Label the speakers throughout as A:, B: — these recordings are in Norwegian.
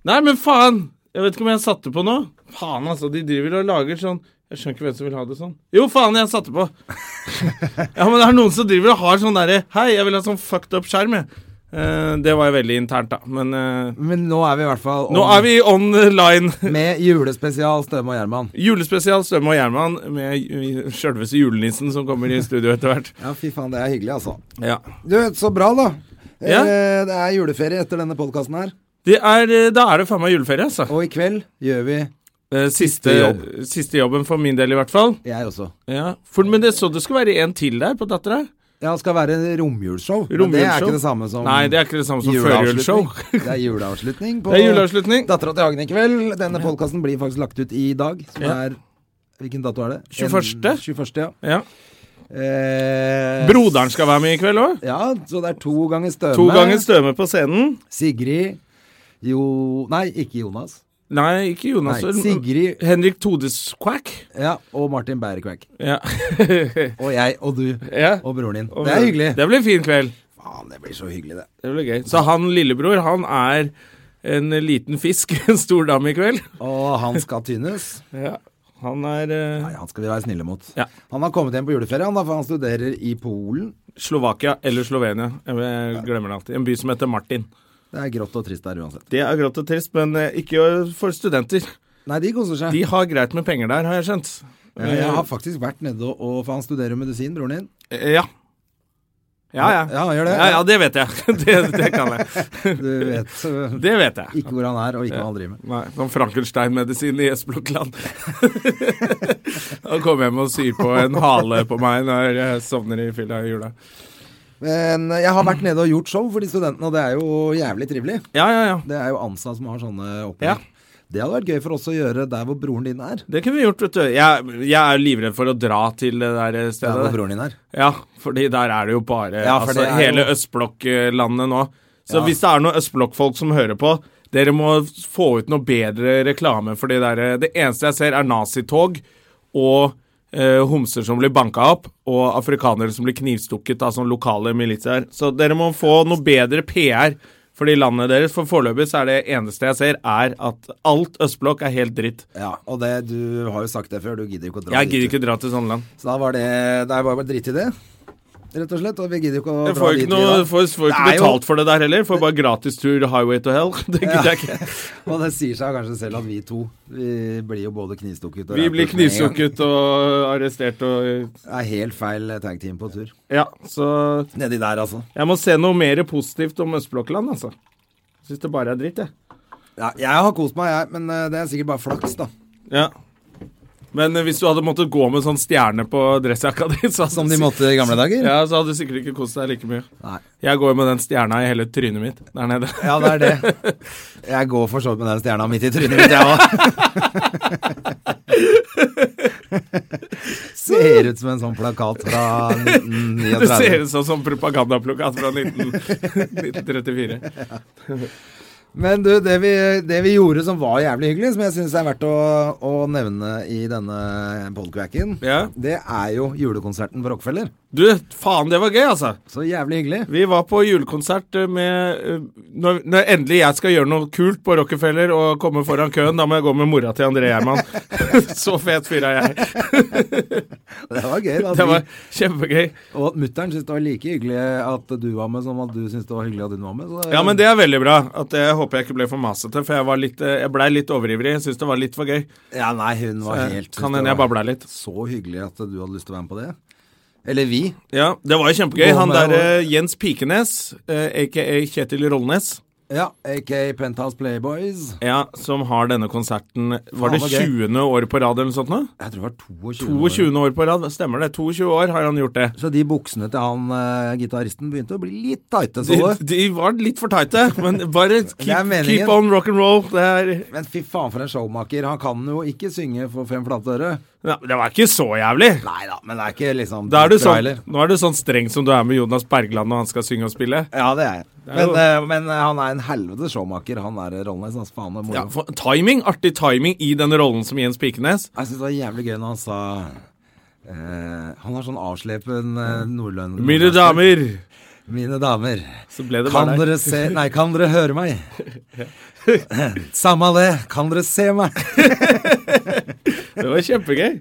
A: Nei, men faen! Jeg vet ikke om jeg satte på noe. Faen, altså. De driver og lager sånn Jeg skjønner ikke hvem som vil ha det sånn. Jo, faen, jeg satte på. ja, men det er noen som driver og har sånn derre Hei, jeg vil ha sånn fucked up skjerm, jeg. Eh, det var jo veldig internt, da. Men eh,
B: Men nå er vi i hvert fall
A: nå
B: on-
A: er vi online.
B: med julespesial Støme og Gjerman.
A: Julespesial Stømme og Gjerman med sjølveste julenissen som kommer i studio etter hvert.
B: Ja, fy faen, det er hyggelig, altså.
A: Ja.
B: Du, så bra, da.
A: Ja.
B: Eh, det er juleferie etter denne podkasten her.
A: Det er, eh, da er det faen meg juleferie, altså.
B: Og i kveld gjør vi
A: Eh, Siste,
B: jobb.
A: siste jobben for min del, i hvert fall.
B: Jeg også.
A: Ja. For, men det så det skulle være en til der på dattera.
B: Ja, det skal være romjulsshow. Men det er
A: Romjulsshow.
B: ikke det samme som
A: Nei, det er ikke det samme som førjulsshow.
B: juleavslutning. Det er juleavslutning på
A: Det er juleavslutning.
B: Dattera til Hagen i kveld. Denne podkasten blir faktisk lagt ut i dag, som
A: Ja.
B: er Hvilken dato er det?
A: 21.?
B: En- 21. ja.
A: Ja.
B: Eh,
A: Broderen skal være med i kveld òg.
B: Ja, så det er to ganger Støme.
A: To ganger Støme på scenen.
B: Sigrid Jo Nei, ikke Jonas.
A: Nei, ikke Jonas.
B: Nei, Sigrid
A: Henrik Todes Quack.
B: ja, og Martin Bærekvæk.
A: Ja.
B: Og jeg og du
A: ja.
B: og broren din. Det er hyggelig.
A: Det blir fin kveld.
B: Faen, det blir så hyggelig, det.
A: Det blir gøy. Så han lillebror, han er en liten fisk, en stor dam i kveld.
B: Og han skal tynnes.
A: Ja. Han er eh,
B: Nei, han skal vi være snille mot.
A: Ja.
B: Han har kommet hjem på juleferie, han da, for han studerer i Polen.
A: Slovakia eller Slovenia. Jeg glemmer det alltid. En by som heter Martin.
B: Det er grått og trist der uansett.
A: Det er grått og trist, men eh, ikke for studenter.
B: Nei, de koser seg.
A: De har greit med penger der, har jeg skjønt.
B: Ja, Jeg har faktisk vært nede og, og For han studerer jo medisin, broren din.
A: Eh, Ja. Ja, ja.
B: Ja, han gjør det.
A: Ja, ja, det vet jeg. Det, det kan jeg.
B: Du vet øh,
A: Det vet jeg.
B: ikke hvor han er, og ikke hva han driver med.
A: Nei, sånn Frankenstein-medisin i Esplokland. Han kommer hjem og syr på en hale på meg når jeg sovner i fylla i jula.
B: Men øh, jeg har vært nede og gjort show for de studentene, og det er jo jævlig trivelig.
A: Ja, ja, ja.
B: Det er jo ansatt som har sånne
A: Ja.
B: opplegg. Det hadde vært gøy for oss å gjøre der hvor broren din er.
A: Det kunne vi gjort, vet du. Jeg, jeg er livredd for å dra til det der
B: Der hvor
A: stedet.
B: broren din er.
A: Ja, fordi der er det jo bare
B: Ja, for
A: altså,
B: det er
A: hele
B: jo-
A: østblokklandet nå. Så
B: Ja.
A: hvis det er noen østblokkfolk som hører på, dere må få ut noe bedre reklame. For det, der, det eneste jeg ser, er nazitog og eh, homser som blir banka opp, og afrikanere som blir knivstukket av sånne lokale militser. Så dere må få noe bedre PR for de landene deres. For foreløpig så er det eneste jeg ser, er at alt østblokk er helt dritt.
B: Ja, og det, du har jo sagt det før, du gidder ikke å dra
A: Jeg gidder
B: dit.
A: ikke dra til sånne land.
B: du. Så da var det Det er bare bare dritt i det, rett og slett. Og vi gidder jo ikke å
A: Jeg
B: dra
A: får
B: dit. vi
A: ikke, noe,
B: da.
A: får,
B: Det
A: får ikke
B: er jo-
A: betalt for det der heller. Får bare gratis tur Highway to Hell. Det gidder jeg ikke.
B: Og det sier seg kanskje selv at vi to Vi blir jo både knivstukket og
A: Vi
B: rævt
A: blir
B: ut med en gang.
A: knivstukket og arrestert og
B: Det er helt feil eh, tag team på tur.
A: Ja, så
B: Nedi der, altså.
A: jeg må se noe mer positivt om Østblokkland, altså. Syns det bare er dritt, jeg.
B: Ja, jeg har kost meg, jeg, men eh, det er sikkert bare flaks, da.
A: Ja. Men eh, hvis du hadde måttet gå med sånn stjerne på dressjakka di, så hadde
B: Som de
A: du sik-
B: måtte i gamle dager.
A: Ja, så hadde du sikkert ikke kost deg like mye.
B: Nei.
A: Jeg går jo med den stjerna i hele trynet mitt der nede.
B: Ja, det er det. Jeg går for så vidt med den stjerna midt i trynet mitt, jeg òg. Ser ut som en sånn plakat fra
A: Du
B: 1939.
A: ser ut som sånn propagandaplakat fra 19, 1934.
B: Men du, det vi, det vi gjorde som var jævlig hyggelig, som jeg syns er verdt å, å nevne i denne podquacken,
A: Ja.
B: det er jo julekonserten på Rockefeller.
A: Du, faen, det var gøy, altså.
B: Så jævlig hyggelig.
A: Vi var på julekonsert eh, med eh, når, når endelig jeg skal gjøre noe kult på Rockefeller og komme foran køen, da må jeg gå med mora til André Gjerman. Så fet fyr er jeg.
B: Det var gøy. da.
A: Det var kjempegøy.
B: Og at mutter'n syntes det var like hyggelig at du var med, som at du syntes det var hyggelig at hun var med. Så,
A: Ja, men det er veldig bra. At Jeg håper jeg ikke ble for masete, for jeg, var litt, eh, jeg blei litt overivrig. Jeg syns det var litt for gøy.
B: Ja, nei, hun var
A: Eh,
B: helt
A: Kan hende jeg babla litt.
B: Så hyggelig at du hadde lyst til å være med på det. Eller vi.
A: Ja, det var jo
B: Gå
A: kjempegøy. Han
B: med,
A: der eh, Jens Pikenes, eh, aka Kjetil Rollnes,
B: Ja, AK Penthouse Playboys.
A: Ja, som har denne konserten Var det
B: Faen, så gøy.
A: 20. år på rad eller noe sånt nå?
B: Jeg tror det var 22. år.
A: 22. år på rad, stemmer det. 22 år har han gjort det.
B: Så de buksene til han eh, gitaristen begynte å bli litt tighte,
A: De,
B: så du.
A: de var litt for tighte, men bare
B: er
A: keep,
B: meningen.
A: keep on rock and roll. Det, er,
B: Men fy faen for en showmaker. Han kan jo ikke synge for fem flate øre.
A: Ja, det var ikke så jævlig.
B: Nei da, men det er ikke liksom
A: Da er du sånn,
B: trailer.
A: nå er du sånn streng som du er med Jonas Bergland når han skal synge og spille.
B: Ja, det er jeg.
A: er
B: Men,
A: jo-
B: eh, men eh, han er en helvetes showmaker, han der Rollnes. Altså, faen, det er moro.
A: Ja, for, timing, Artig timing i den rollen som Jens Pikenes.
B: Jeg syns det var jævlig gøy når han sa eh, Han har sånn avslepen eh, nordlønn...
A: Mine damer!
B: Mine damer.
A: Så ble det
B: Kan
A: bare
B: dere
A: der.
B: se Nei, kan dere høre meg? Samme det, kan dere se meg?
A: Det var kjempegøy.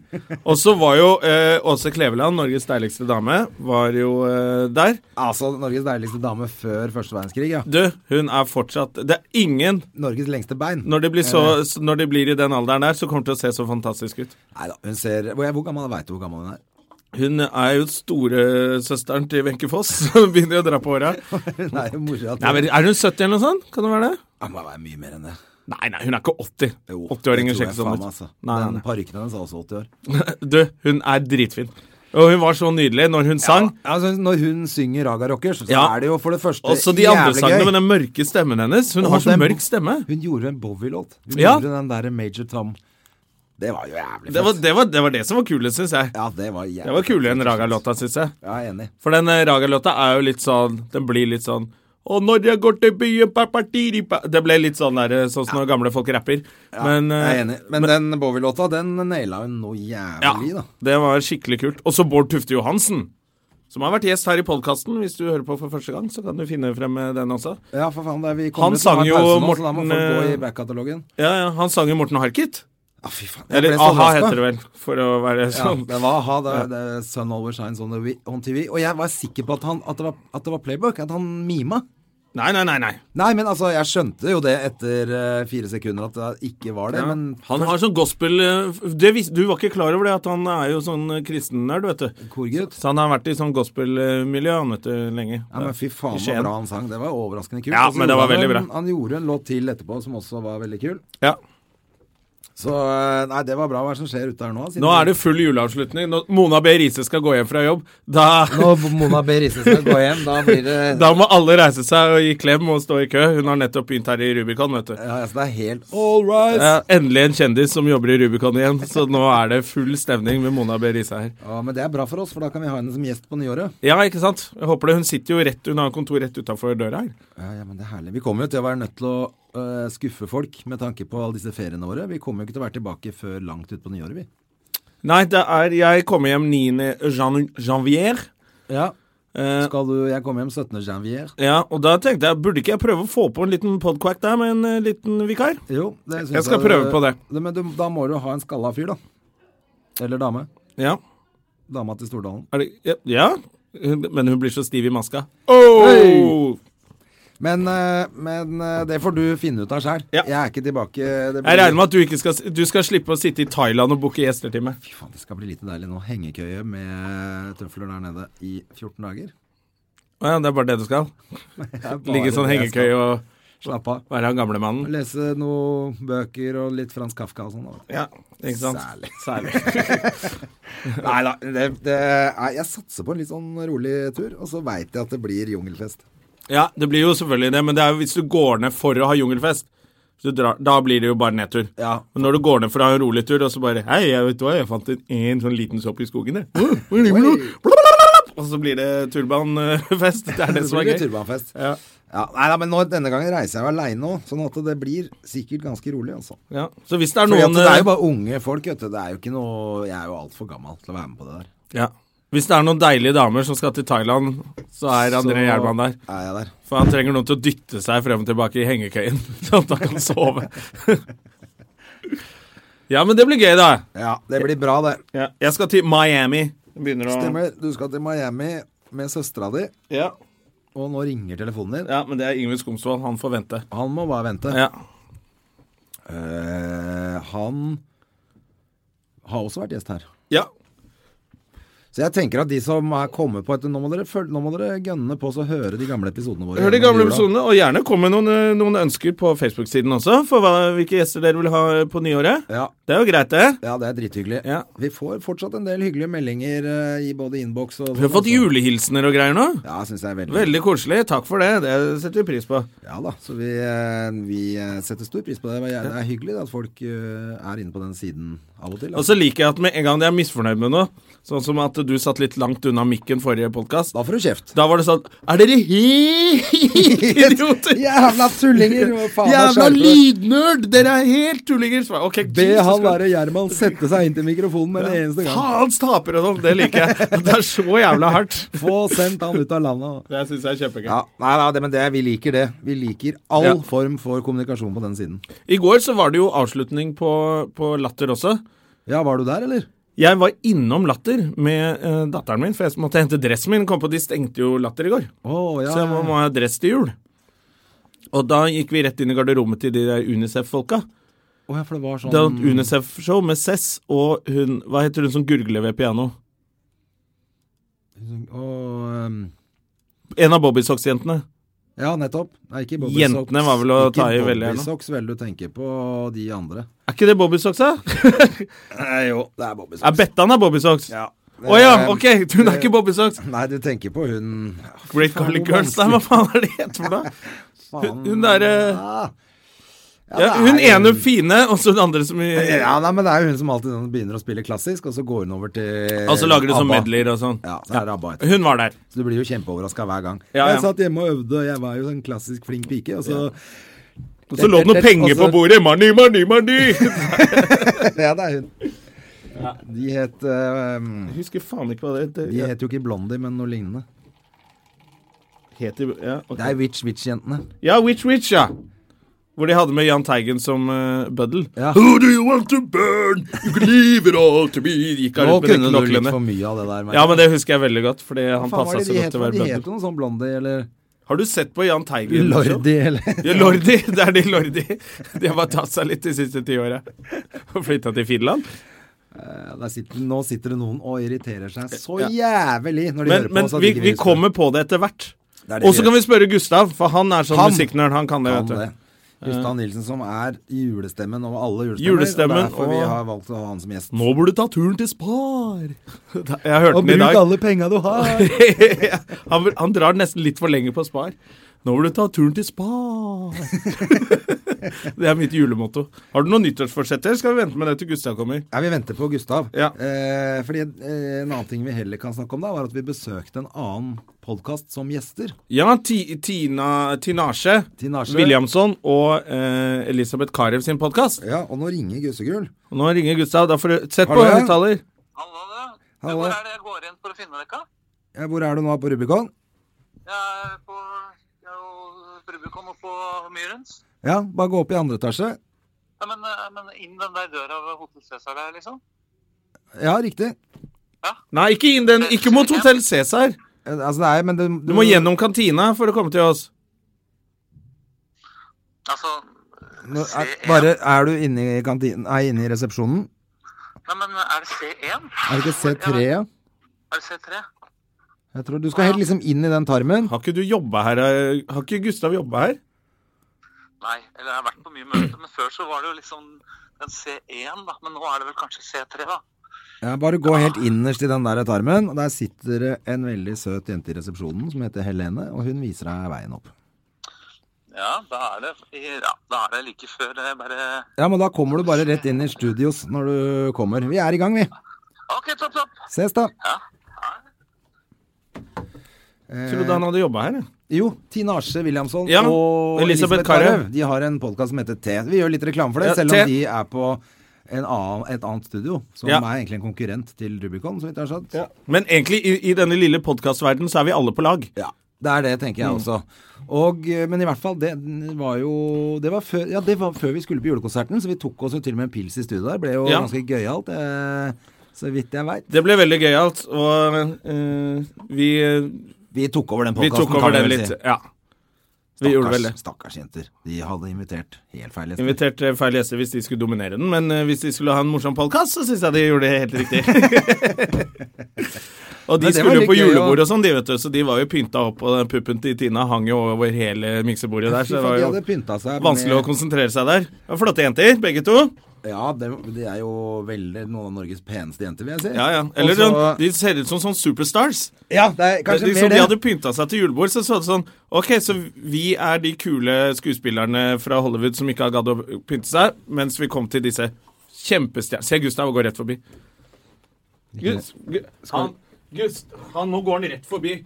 A: Og så var jo eh, Åse Kleveland, Norges deiligste dame, var jo eh, der.
B: Altså, Norges deiligste dame før første verdenskrig, ja.
A: Du, hun er fortsatt Det er ingen
B: Norges lengste bein.
A: når de, blir så, s- når de blir i den alderen der, så kommer det til å se så fantastisk ut.
B: Nei da, hun ser Hvor, hvor gammel veit du hvor gammel hun er?
A: Hun er jo storesøsteren til Wenche Foss, som begynner å dra på åra.
B: Hun er jo mora til
A: Nei, men Er hun 70 eller noe sånt? Kan det være det?
B: Han må være mye mer enn det.
A: Nei, nei, hun er ikke 80.
B: Jo, det tror
A: 80-åringen
B: jeg
A: ser ikke sånn
B: faen,
A: ut.
B: altså.
A: Nei, nei,
B: Den parykken hennes er også 80 år.
A: nei. Du, hun er dritfin. Og hun var så nydelig når hun sang.
B: Altså, når hun synger Raga Rockers, så
A: Ja.
B: er det jo for det første
A: Også de andre
B: jævlig
A: sangene
B: gøy.
A: med den mørke stemmen hennes. Hun
B: Og
A: har så
B: den-
A: mørk stemme.
B: Hun gjorde en Bowie-låt. Hun
A: Ja.
B: gjorde den der Major Tom. Det var jo jævlig
A: Det var det, var, det, var det som var kulest, syns jeg.
B: Ja, det var jævlig
A: Det var kulere enn
B: fett.
A: Raga-låta, syns jeg.
B: Ja, jeg er enig.
A: For den eh, Raga-låta er jo litt sånn Den blir litt sånn og når jeg går til byen pa, pa, tiri, pa. Det ble litt sånn der, eh, sånn som når gamle folk rapper. Men, eh,
B: Jeg er enig. Men, den Bowie-låta, den naila hun noe jævlig,
A: ja,
B: da.
A: det var skikkelig kult. Og så Bård Tufte Johansen, som har vært gjest her i podkasten. Hvis du hører på for første gang, så kan du finne frem eh, den også.
B: Ja, for faen, det er vi
A: Han
B: kommer til å ha
A: sang
B: en
A: jo
B: pause nå, så da må
A: Morten,
B: folk gå
A: eh,
B: i back-katalogen.
A: Ja, ja, Han sang jo Morten Harket.
B: Ah, fy faen.
A: Eller a-ha heter det vel, for å være
B: Ja,
A: sånn.
B: det var aha, det, det Sun Always Shines on, the, wi- on TV. Og jeg var sikker på at, han, at, det var, at det var playbook, at han mima.
A: Nei, nei, nei. nei.
B: Nei, men altså, jeg skjønte jo det etter eh, fire sekunder at det ikke var det, men
A: Han har sånn gospel eh, det vis, Du var ikke klar over det, at han er jo sånn eh, kristennerd, vet du.
B: korgutt
A: Så han har vært i sånn gospelmiljø, han, vet du, lenge.
B: ja, men fy faen
A: I
B: så
A: Skien.
B: bra han sang. Det var overraskende kult.
A: Ja,
B: Og så
A: men det
B: gjorde
A: var
B: han
A: veldig
B: en-
A: bra.
B: Han gjorde en låt til etterpå som også var veldig kul.
A: Ja.
B: Så eh, nei, det var bra. Hva er det som skjer ute her nå? siden-
A: Nå er det full juleavslutning. Når Mona B. Riise skal gå hjem fra jobb, da,
B: Når Mona B. Riise skal gå hjem, da blir det
A: da må alle reise seg og gi klem og stå i kø. Hun har nettopp begynt her i Rubicon, vet du.
B: ja, altså, Det er helt all right.
A: Ja, endelig en kjendis som jobber i Rubicon igjen, så nå er det full stemning med Mona B. Riise her.
B: Ja, men det er bra for oss, for da kan vi ha henne som gjest på nyåret.
A: Ja, ikke sant? Jeg håper det. Hun sitter jo rett, hun har kontor rett utafor døra her.
B: Ja, ja, men det er herlig. Vi kommer jo til å være nødt til å øh, skuffe folk med tanke på alle disse feriene våre. Vi kommer jo ikke til å være tilbake før langt utpå nyåret, vi.
A: Nei, det er Jeg kommer hjem 9. Jan janvier.
B: Ja.
A: Eh,
B: Skal du Jeg kommer hjem 17. janvier.
A: ja, og da tenkte jeg, burde ikke jeg prøve å få på en liten podquack der med en eh, liten vikar?
B: Jo, det syns
A: Jeg skal prøve på det.
B: Men du, da må du ha en skalla fyr, da. Eller dame.
A: Ja.
B: Dama til Stordalen.
A: Er det, ja, ja. Hun- Men hun blir så stiv i maska.
B: Hei! Men, øh, men øh, det får du finne ut av sjæl.
A: Ja.
B: Jeg er ikke tilbake det
A: Jeg regner med at du ikke skal, du skal slippe å sitte i Thailand og booke gjester til meg.
B: Fy faen, det skal bli lite deilig nå. Hengekøye med tøfler der nede i 14 dager.
A: Å ja, det er bare det du skal?
B: Det er bare
A: Ligge i sånn
B: det jeg skal.
A: hengekøye og
B: Slapp av.
A: være han gamlemannen?
B: Lese noen bøker og litt Frans Kafka og sånn. da, vet
A: Ja, ikke sant?
B: Særlig.
A: Særlig.
B: du. Nei da, det, det nei, jeg satser på en litt sånn rolig tur, og så veit jeg at det blir jungelfest.
A: Ja, det blir jo selvfølgelig det, men det er jo hvis du går ned for å ha jungelfest. Hvis du drar, da blir det jo bare nedtur.
B: Ja.
A: Men når du går ned for å ha en rolig tur, og så bare Hei, jeg vet hva, jeg fant en, en sånn liten sopp i skogen, jeg. Å,
B: Mm.
A: hva er det for noe? Blablabla. Og så blir det turbanfest. Det er det som er
B: blir
A: gøy.
B: turbanfest.
A: Ja.
B: Ja, nei da, men nå, denne gangen reiser jeg jo aleine nå, sånn at det blir sikkert ganske rolig, altså.
A: Ja. Så hvis det er
B: Fordi
A: noen
B: at det er jo bare unge folk, vet du. Det er jo ikke noe Jeg er jo altfor gammel til å være med på det der.
A: eh, Ja. Hvis det er noen deilige damer som skal til Thailand, så er André Gjerman der.
B: Er jeg der.
A: For han trenger noen til å dytte seg frem og tilbake i hengekøyen, sånn at han kan sove. ja, men det blir gøy, da.
B: Ja, det blir bra, det.
A: Jeg skal til Miami. Begynner å
B: Stemmer. Du skal til Miami med søstera di,
A: Ja.
B: og nå ringer telefonen din.
A: ja, men det er Yngve Skomsvold. Han får vente.
B: Han må bare vente.
A: Ja.
B: Eh, han har også vært gjest her.
A: ja.
B: Så jeg tenker at de som er kommet på et Nå må dere, føl- nå må dere gønne på så høre de gamle episodene våre.
A: Hør de
B: gjennom
A: gamle
B: jula.
A: episodene, og gjerne kom med noen, eh, noen ønsker på Facebook-siden også, for hva, hvilke gjester dere vil ha eh, på nyåret.
B: Ja,
A: Det er jo greit, det.
B: ja, det er drithyggelig.
A: Ja.
B: Vi får fortsatt en del hyggelige meldinger eh, i både innboks og
A: Vi har fått
B: sånn, altså.
A: julehilsener og greier nå.
B: Ja, synes jeg er veldig
A: Veldig koselig. Takk for det. Det setter vi pris på.
B: Ja da, så vi, eh, vi eh, setter stor pris på det. Det er- Det er hyggelig at folk eh, er inne på den siden av og til.
A: Og
B: Altså.
A: så liker jeg at med en gang jeg er misfornøyd med noe, sånn som at du satt litt langt unna mikken forrige podkast,
B: Da får du kjeft.
A: da var det sånn Er dere helt idioter?
B: Jævla tullinger! hva faen er
A: Jævla
B: skjerpet?
A: lydnerd! Dere er helt tullinger! Så jeg, Ok,
B: Be
A: Jesus
B: han
A: Christ.
B: være Gjerman sette seg inn til mikrofonen med det eneste gang.
A: Faens tapere og sånn! Det liker jeg. Det er så jævla hardt.
B: Få sendt han ut av landet.
A: Det syns jeg er kjempegøy.
B: Ja, nei, nei, det, men det, vi liker det. Vi liker all
A: Ja.
B: form for kommunikasjon på den siden.
A: I går så var det jo avslutning på, på Latter også.
B: Ja, var du der, eller?
A: Jeg var innom Latter med eh, datteren min, for jeg måtte hente dressen min. Kom på, De stengte jo Latter i går.
B: Å, ja.
A: Så jeg må, må ha dress til jul. Og da gikk vi rett inn i garderommet til de der Unicef-folka.
B: Å, ja, for det var sånn
A: Det var et Unicef-show med Cess og hun Hva heter hun som gurgler ved piano?
B: Å, ehm,
A: En av Bobbysocks-jentene.
B: Ja, nettopp. Nei, ikke Bobby
A: Jentene
B: Socks.
A: var vel å
B: ikke
A: ta i veldig her nå.
B: Bobby Socks, vel, du tenker på de andre.
A: Er ikke det Bobbysocks, da?
B: Nei, jo, det er Bobby
A: Er Bettan er Bobbysocks? Å ja. ok! Hun er ikke Bobbysocks.
B: Nei, du tenker på hun
A: Great
B: faen,
A: Garlic
B: hvor
A: Girls, nei, hva faen er det heter for noe?
B: Faen.
A: hun der, eh,
B: ja. Ja,
A: Ja,
B: det
A: hun
B: er
A: ene
B: hun-
A: fine, og så den andre som
B: Ja, nei, men det er jo hun som alltid sånn begynner å spille klassisk, og så går hun over til
A: Og så lager du sånn
B: ABBA.
A: medleyer og sånn.
B: Ja, så er det ABBA etterpå.
A: Hun var der.
B: Så du blir jo kjempeoverraska hver gang.
A: Ja, ja.
B: Jeg satt hjemme og øvde, og jeg var jo sånn klassisk flink pike, og så
A: Og så lå det noen penger på
B: Og så-
A: bordet. Money, money, money!
B: Ja, det er hun. De het eh,
A: Jeg husker faen ikke hva det heter.
B: De het jo ikke Blondie, men noe lignende.
A: Heter, ja, ok.
B: Det er Witch Witch-jentene.
A: ja, Witch Witch, ja. Hvor de hadde med Jahn Teigen som uh, bøddel.
B: Ja.
A: Who do you want to burn? You can leave it all to me. Gikk han
B: Nå
A: rundt med de
B: kunne du litt
A: knoklene.
B: for mye av det der. merker
A: Ja,
B: jeg.
A: men det husker jeg veldig godt, fordi
B: Hva
A: han
B: faen var
A: passa
B: det
A: så
B: de
A: godt
B: het?
A: til å
B: for noe?
A: være
B: De het
A: bøddel.
B: jo noe sånn Blondie eller
A: Har du sett på Jahn Teigen?
B: Lordi eller
A: Ja, Lordi. Det er de Lordi. De har bare tatt seg litt de siste ti åra. Og flytta til Finland.
B: Ja, der sitter, Nå sitter det noen og irriterer seg så jævlig når de
A: Men,
B: hører på
A: men
B: oss. at
A: vi,
B: ikke
A: vi
B: husker.
A: kommer på det etter hvert.
B: Det er det
A: Og så
B: vi
A: kan vi spørre Gustav, for han er sånn
B: Han
A: musikknerd. Han kan det,
B: kan
A: vet du.
B: det. Gustav Nilsen som er julestemmen over alle julestemmer.
A: Julestemmen,
B: og derfor vi
A: og-
B: har valgt å ha han som gjest.
A: Nå burde du ta turen til Spar. Jeg hørte den i dag.
B: alle penga du har.
A: han, han drar nesten litt for lenge på Spar. Nå vil du ta turen til Spar. det er mitt julemotto. Har du noen nyttårsforsetter? Skal vi vente med det til Gustav kommer?
B: Ja, Vi venter på Gustav.
A: Ja.
B: Eh, fordi eh, En annen ting vi heller kan snakke om, da, var at vi besøkte en annen podkast som gjester.
A: Ja, ti, Tina Tinasje
B: Tinasje.
A: Williamson og eh, Elisabeth Carew sin podkast.
B: Ja, Og nå ringer Gussegul.
A: Nå ringer Gustav. Da får du Sett
B: Har
A: på
B: du det?
A: høyttaler.
C: Hallo, du.
B: Hallo.
C: Hvor er det jeg går inn for å finne dere?
B: Ja, hvor er du nå på Rubicon?
C: Jeg er på jeg er jo på Rubicon og på Myrens.
B: Ja, bare gå opp i andre etasje.
C: Ja, men, eh, men inn den der døra ved Hotel Cæsar der, liksom?
B: Ja, riktig.
A: Nei, ikke inn den. Ikke mot Hotell Cæsar.
B: Eh, Altså, nei, men det,
A: Du må gjennom kantina for å komme til oss.
C: Altså
B: Nå, er,
C: C1?
B: bare, er du inne i, kantinen, nei, inne i resepsjonen?
C: Nei, men er det C1?
B: Er det ikke C3? Ja?
C: Er det C3?
B: Jeg tror Du skal helt liksom inn i den tarmen.
A: Har ikke du jobba her? eh, Har ikke Gustav jobba her?
C: Nei, eller jeg har vært på mye møter, men før så var det jo liksom den C1, da. Men nå er det vel kanskje C3, da.
B: Ja, bare gå helt innerst i den der tarmen. og Der sitter det en veldig søt jente i resepsjonen som heter Helene, og hun viser deg veien opp.
C: Ja, da er det, ja, da er det like før det bare
B: Ja, men da kommer du bare rett inn i studios når du kommer. Vi er i gang, vi.
C: OK, topp, topp.
B: Ses, da.
C: Ja.
A: Trodde
B: Eh.
A: han hadde jobba her. jeg.
B: Jo, Tine Asje Williamson
A: Ja,
B: og
A: Elisabeth
B: Elisabeth
A: Carew.
B: Carew. De har en podkast som heter T. Vi gjør litt reklame for det,
A: Ja,
B: selv
A: T.
B: om de er på en annen, et annet studio, som
A: Ja.
B: er egentlig en konkurrent til Rubicon, så vidt jeg har skjønt.
A: Men egentlig, i, i denne lille podkastverdenen, så er vi alle på lag.
B: Ja, det er det, tenker
A: Mm.
B: jeg også. Og, eh, men i hvert fall, det var jo Det var før, ja, det var før vi skulle på julekonserten, så vi tok oss jo til og med en pils i studio der. Ble jo
A: Ja.
B: ganske gøyalt, eh, så vidt jeg veit.
A: Det ble veldig gøyalt, og eh, vi,
B: Vi tok over den
A: vi
B: podkasten,
A: tok over den litt. Ja. Vi gjorde vel det.
B: Stakkars jenter. De hadde invitert helt feil. gjester.
A: Invitert eh, feil gjester hvis de skulle dominere den, men eh, hvis de skulle ha en morsom podkast, så syns jeg de gjorde det helt riktig. Og de
B: Men det var
A: skulle jo
B: litt
A: på
B: gøy,
A: julebord
B: ja.
A: og sånn, de, vet du. Så de var jo pynta opp, og den puppen til Tina hang jo over hele miksebordet der.
B: Fy
A: Så det
B: faen,
A: var
B: de
A: jo
B: hadde pynta seg
A: vanskelig å
B: med-
A: konsentrere seg der. Det var flotte jenter, begge to.
B: Ja, det, det er jo veldig noen av Norges peneste jenter, vil jeg si.
A: Ja, ja. Eller
B: Og
A: sånn,
B: så-
A: de ser ut som sånn superstars.
B: Ja, det er kanskje
A: liksom,
B: mer det.
A: De hadde pynta seg til julebord, så så det sånn Ok, så vi er de kule skuespillerne fra Hollywood som ikke har gadd å pynte seg, mens vi kom til disse kjempestjernene Se Gustav går rett forbi. Gus, gu, han, Gus, han, nå går han rett forbi.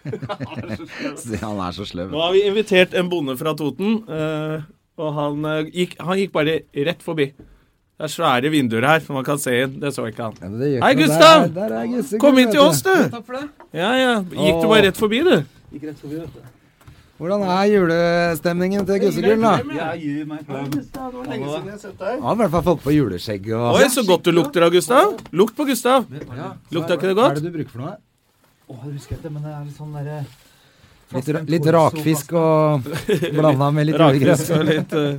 B: Han er så sløv.
A: Nå har vi invitert en bonde fra Toten, eh, og han, eh, gikk, han gikk bare rett forbi. Det er svære vinduer her, som man kan se inn. Det så ikke han.
B: Ja, men det gjør
A: Hei,
B: ikke noe.
A: Gustav!
B: Der, der er Gusse,
A: Kom
B: Guss,
A: inn til
B: vet
A: oss,
B: du.
A: du! Takk for det. Ja, ja. Gikk du bare rett forbi, du?
B: Hvordan er julestemningen til Gussegull, da? Han har i hvert fall fått på juleskjegg og
A: Oi, så godt du lukter av Gustav. Lukt på Gustav. Lukta ikke det
B: Hva er
A: godt?
B: det du bruker for noe? sånn
D: derre-
B: Litt, ra- litt rakfisk og blanda med litt julegrøt.
A: Rakfisk og litt
B: Ja,
A: eh,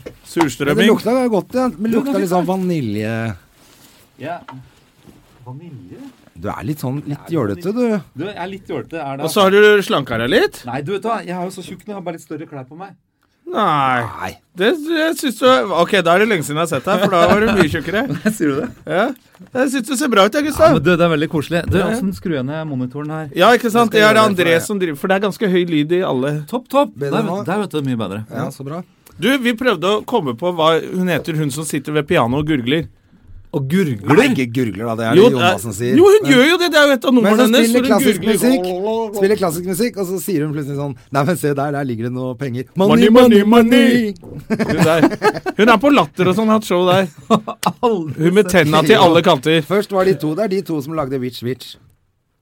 B: Det
A: surstrømming.
B: lukta jo godt, ja. Men lukta litt sånn vanilje... Du er litt sånn litt jålete, du.
E: Du, jeg er litt jålete. Er det
A: Og så har du slanka deg litt?
E: Nei, du vet da, jeg er jo så tjukk nå. Jeg har bare litt større klær på meg.
A: Nei.
B: Nei.
A: Det jeg synes du Ok, da er det lenge siden jeg har sett deg, for da var du mye tjukkere.
E: Sier du det?
A: Ja. Jeg syns du ser bra ut, jeg,
E: Ja,
A: Gustav.
E: men du, det er veldig koselig. Du, Åssen skrur jeg ned monitoren her?
A: Ja, ikke sant? Det
B: Jeg skal gjøre det for
A: er det André
B: deg.
A: som driver For det er ganske høy lyd i alle
E: Topp, topp! Der,
B: Bedre nå.
E: vet- der vet du mye bedre.
B: Ja, så bra.
A: Du, vi prøvde å komme på hva hun heter, hun som sitter ved pianoet og gurgler.
E: Og gurgler.
B: Nei, ikke gurgler, da. Det er det
A: det er-
B: Jonassen sier.
A: jo, hun gjør jo det! Det er jo et av
B: Men så
A: numrene hennes.
B: spiller
A: hvor hun
B: klassisk
A: gurgler.
B: musikk, spiller klassisk musikk, og så sier hun plutselig sånn Nei, men se der, der ligger det noe penger.
A: Money, money, money! Hun, der. hun er på Latter og sånn, hatt show der. Hun med tenna til alle kanter.
B: Først var de to der, de to som lagde Witch Witch.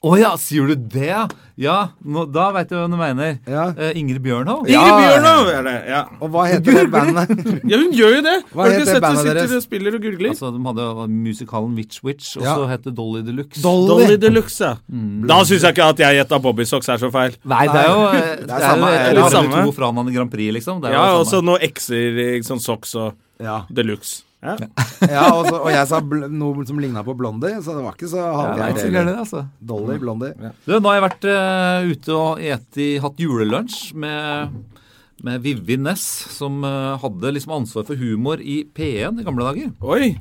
E: Å ja, sier du det? Ja, nå, da veit du hva du mener.
B: Ja.
E: Eh, Ingrid Bjørnov?
B: Ja.
A: Ingrid Bjørnov er det. Ja.
B: Og hva heter det bandet?
A: ja, hun gjør jo det.
B: Hva
A: Har du
B: heter
A: ikke sett
B: bandet
A: hun sitter
B: deres?
A: og spiller og gurgler?
E: Altså, De hadde jo musikalen Witch Witch, og
B: Ja.
E: så het det Dolly Deluxe.
A: Dolly Deluxe, ja.
B: Mm.
A: Da syns jeg ikke at jeg gjetta Bobbysocks er så feil.
E: Nei, det er jo eh, Det er
B: samme-
E: jo
B: det er
E: et
A: det
E: eller
A: samme.
E: annet to fra han i Grand Prix, liksom. Det er jo
A: Ja,
E: det
A: og
E: samme.
A: så noe ekser, ikke sånn socks og
B: Ja,
A: Deluxe. Ja.
B: ja og, så, og jeg sa bl noe som ligna på Blondie, så det var ikke så
E: Ja, det er ikke
B: halvgærent.
E: så
B: heller.
E: gærent, det, altså.
B: Dolly Blondie.
E: Du, nå har jeg vært eh, ute og eti, hatt julelunsj med, med Vivi Ness, som eh, hadde liksom ansvar for humor i P1 i gamle dager.
A: Oi.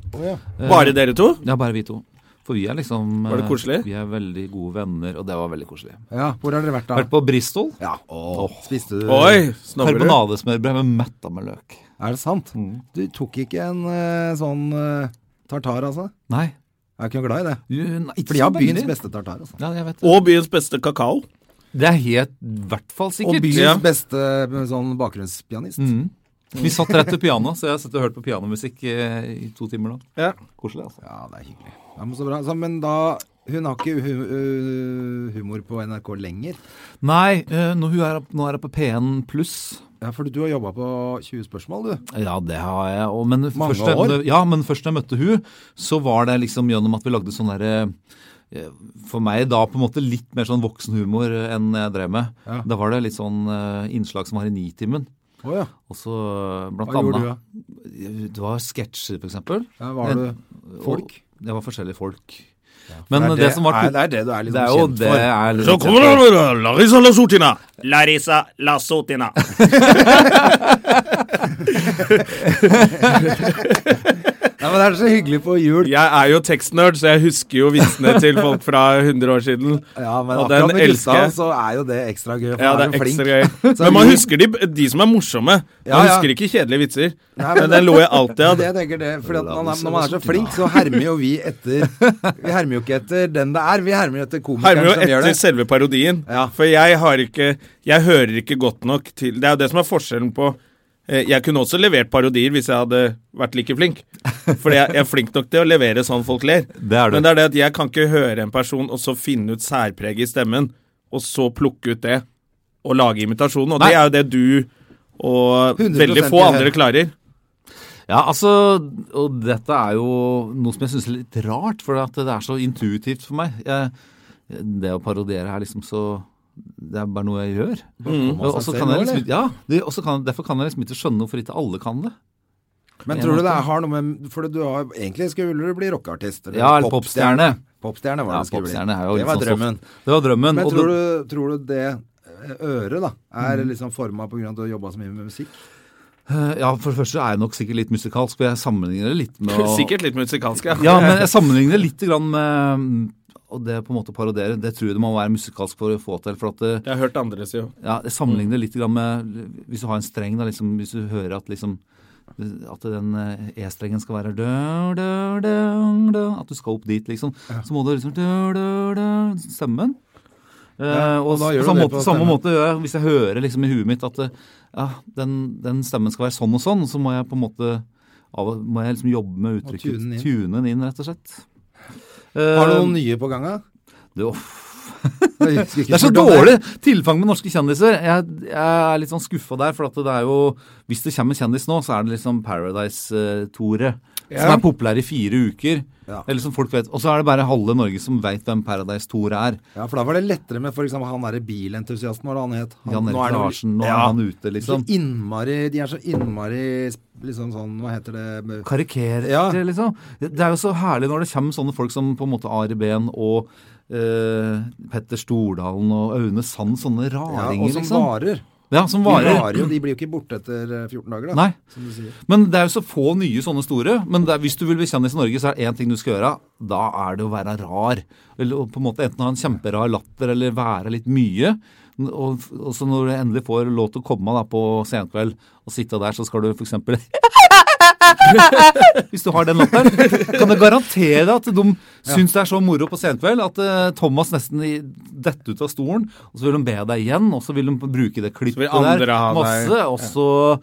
A: Bare dere to?
E: Ja, bare vi to. For vi er liksom eh,
A: Var det koselig?
E: Vi er veldig gode venner, og det var veldig koselig.
B: Ja, hvor har dere vært da?
E: Vært på Bristol.
B: Ja, åh, spiste du
A: Oi, snobber du?
E: Karbonadesmørbrød med metta med løk.
B: Er det sant? Du tok ikke en eh, sånn eh, tartar, altså?
E: Nei.
B: Jeg er ikke noe glad i det.
E: Jo, nei, ikke
B: For de har
E: så
B: byens
E: veldig.
B: beste tartar, altså.
E: Ja, jeg vet det.
A: Og byens beste kakao.
E: Det er helt i hvert fall sikkert.
A: Og byens
B: Byens
A: Ja. Mm.
B: beste eh, sånn bakgrunnspianist.
E: Mm. Vi satt rett ved pianoet, så jeg har sittet og hørt på pianomusikk eh, i to timer nå.
A: Ja.
E: Koselig, altså.
B: Ja, det er hyggelig. Ja, men så bra. Så, men da Hun har ikke hu øh, humor på NRK lenger.
E: Nei, eh, nå, hun er, nå er jeg på P1 pluss.
B: Ja, for du har jobba på 20 spørsmål, du.
E: Ja, det har jeg. Og, men,
B: Mange
E: først, jeg-
B: år.
E: Ja, men først da jeg møtte hun, så var det liksom gjennom at vi lagde sånn derre eh, For meg da på en måte litt mer sånn voksenhumor enn jeg drev med.
B: Ja.
E: Da var det litt sånn eh, innslag som var i Nitimen.
B: Å ja.
E: Og så eh, blant
B: Hva gjorde du, da?
E: annet Det var sketsjer, for eksempel.
B: Ja, var du folk?
E: Og, det var forskjellige folk. men
B: det er
E: det,
B: det-
E: som var
B: nei, det er det du er litt
E: det
B: sånn
E: jo
B: kjent
E: det
B: for.
E: jeg er litt
A: Så
E: kjent
A: kommer
E: for.
A: det Larissa Lasotina. Larissa Lasotina.
B: Nei, men Det er så hyggelig på jul.
A: Jeg er jo tekstnerd, så jeg husker jo vitsene til folk fra 100 år siden.
B: Ja, men
A: Og den
B: akkurat med altså.
A: elsker
B: Gustav
A: jeg.
B: så er jo det ekstra gøy. For
A: Ja, det
B: han
A: er
B: jo flink.
A: ekstra gøy.
B: Så
A: Men man
B: vi-
A: husker de, de som er morsomme. Man
B: Ja, ja.
A: husker ikke kjedelige vitser.
B: Nei, men
A: men den lo jeg alltid
B: Det
A: av.
B: er det jeg tenker det, fordi at man er, Når man er så flink, så hermer jo vi etter Vi hermer jo ikke etter den det er, vi hermer jo etter komikeren
A: Hermer jo
B: som gjør
A: etter
B: det.
A: selve parodien.
B: Ja.
A: For jeg har ikke Jeg hører ikke godt nok til Det er jo det som er forskjellen på eh, Jeg kunne også levert parodier hvis jeg hadde vært like flink. Fordi jeg, jeg er flink nok til å levere sånn folk ler.
E: Det er du.
A: Men det er det at jeg kan ikke høre en person og så finne ut særpreget i stemmen, og så plukke ut det og lage imitasjonen. Og
E: Nei.
A: det er jo det du og
B: 100%
A: veldig få
B: gjør.
A: andre klarer.
E: Ja, altså, og dette er jo noe som jeg syns er litt rart, for at det er så intuitivt for meg. Jeg, det å parodiere er liksom så Det er bare noe jeg gjør.
B: Kommer
E: Og
B: seg
E: så
B: selv
E: kan jeg
B: nå,
E: liksom,
B: eller?
E: ja, det, og så kan, Derfor kan jeg liksom ikke skjønne hvorfor ikke alle kan det.
B: Men tror du det har noe med For du har, egentlig skulle du bli rockeartist. eller
E: Ja, eller popstjerne.
B: Popstjerne var det
E: Ja,
B: du skulle bli.
E: popstjerne er jo
B: det
E: litt
B: var
E: sånn
B: drømmen.
E: soft. Det var drømmen.
B: Men
E: og Mm.
B: tror
E: det-
B: du, tror du det eh, øret da, er liksom forma pga. at du har jobba så mye med musikk?
E: Eh, Ja, for det første er jeg nok sikkert litt musikalsk, for jeg sammenligner det litt med å
A: Sikkert litt musikalsk, ja.
E: Ja, men jeg sammenligner det litt grann med mm, Og det på en måte parodere, det tror jeg du må være musikalsk for å få til. For at det,
A: Jeg har hørt andre si jo.
E: ja, jeg sammenligner
B: Mm.
E: det litt grann med Hvis du har en streng, da, liksom, hvis du hører at liksom at den eh, E-strengen skal være dø, dø, dø, dø, At du skal opp dit, liksom. Så må du liksom dø, dø, dø, stemmen. Eh,
B: Ja, og
E: og
B: da gjør du
E: på samme
B: det
E: måte,
B: på
E: samme
B: stemmen.
E: måte gjør jeg hvis jeg hører liksom i huet mitt at eh, ja, den, den stemmen skal være sånn og sånn, så må jeg på en måte av, må jeg liksom jobbe med
B: Og
E: uttrykket.
B: tune den inn.
E: Tune den inn, rett og slett.
B: Har du
E: Eh,
B: noen nye på gang, da?
E: det- uff.
B: Jeg husker ikke
E: Det er så
B: hvordan
E: dårlig tilfang med norske kjendiser. Jeg, jeg er litt sånn skuffa der, for at det er jo Hvis det kommer en kjendis nå, så er det liksom Paradise-Tore. Som
B: Ja.
E: er populær i fire uker.
B: Ja.
E: Eller som folk vet. Og så er det bare halve Norge som veit hvem Paradise-Tore er.
B: Ja, for da var det lettere med f.eks. han derre bilentusiasten, hva var det han het? Han,
E: Jan
A: nå er
E: Erik
A: det-
E: Larsen, nå er
A: Ja.
E: han ute, liksom.
B: Så innmari, de er så innmari liksom sånn, hva heter det
E: Karikere,
B: Ja.
E: liksom. Det er jo så herlig når det kommer sånne folk som på en måte Ari Behn og eh, Petter Stordalen og Aune Sand, sånne
B: ja,
E: raringer,
B: Og som
E: liksom.
B: varer.
E: Ja, som
B: De
E: varer.
B: varer jo, de blir jo ikke borte etter eh, 14 dager, da.
E: Nei.
B: Som du sier.
E: Men det er jo så få nye sånne store. Men det er, hvis du vil bli kjendis i Norge, så er det én ting du skal gjøre. Da er det å være rar. Eller å på en måte Enten ha en kjemperar latter eller være litt mye. Og, og så når du endelig får lov til å komme da på senkveld og sitte der, så skal du f.eks. Hvis du har den latteren, kan jeg garantere deg at de syns det er så moro på senkveld at eh, Thomas nesten i- detter ut av stolen, og så vil de be deg igjen, og så vil de bruke det klippet
A: vil andre
E: der
A: ha deg.
E: masse, og så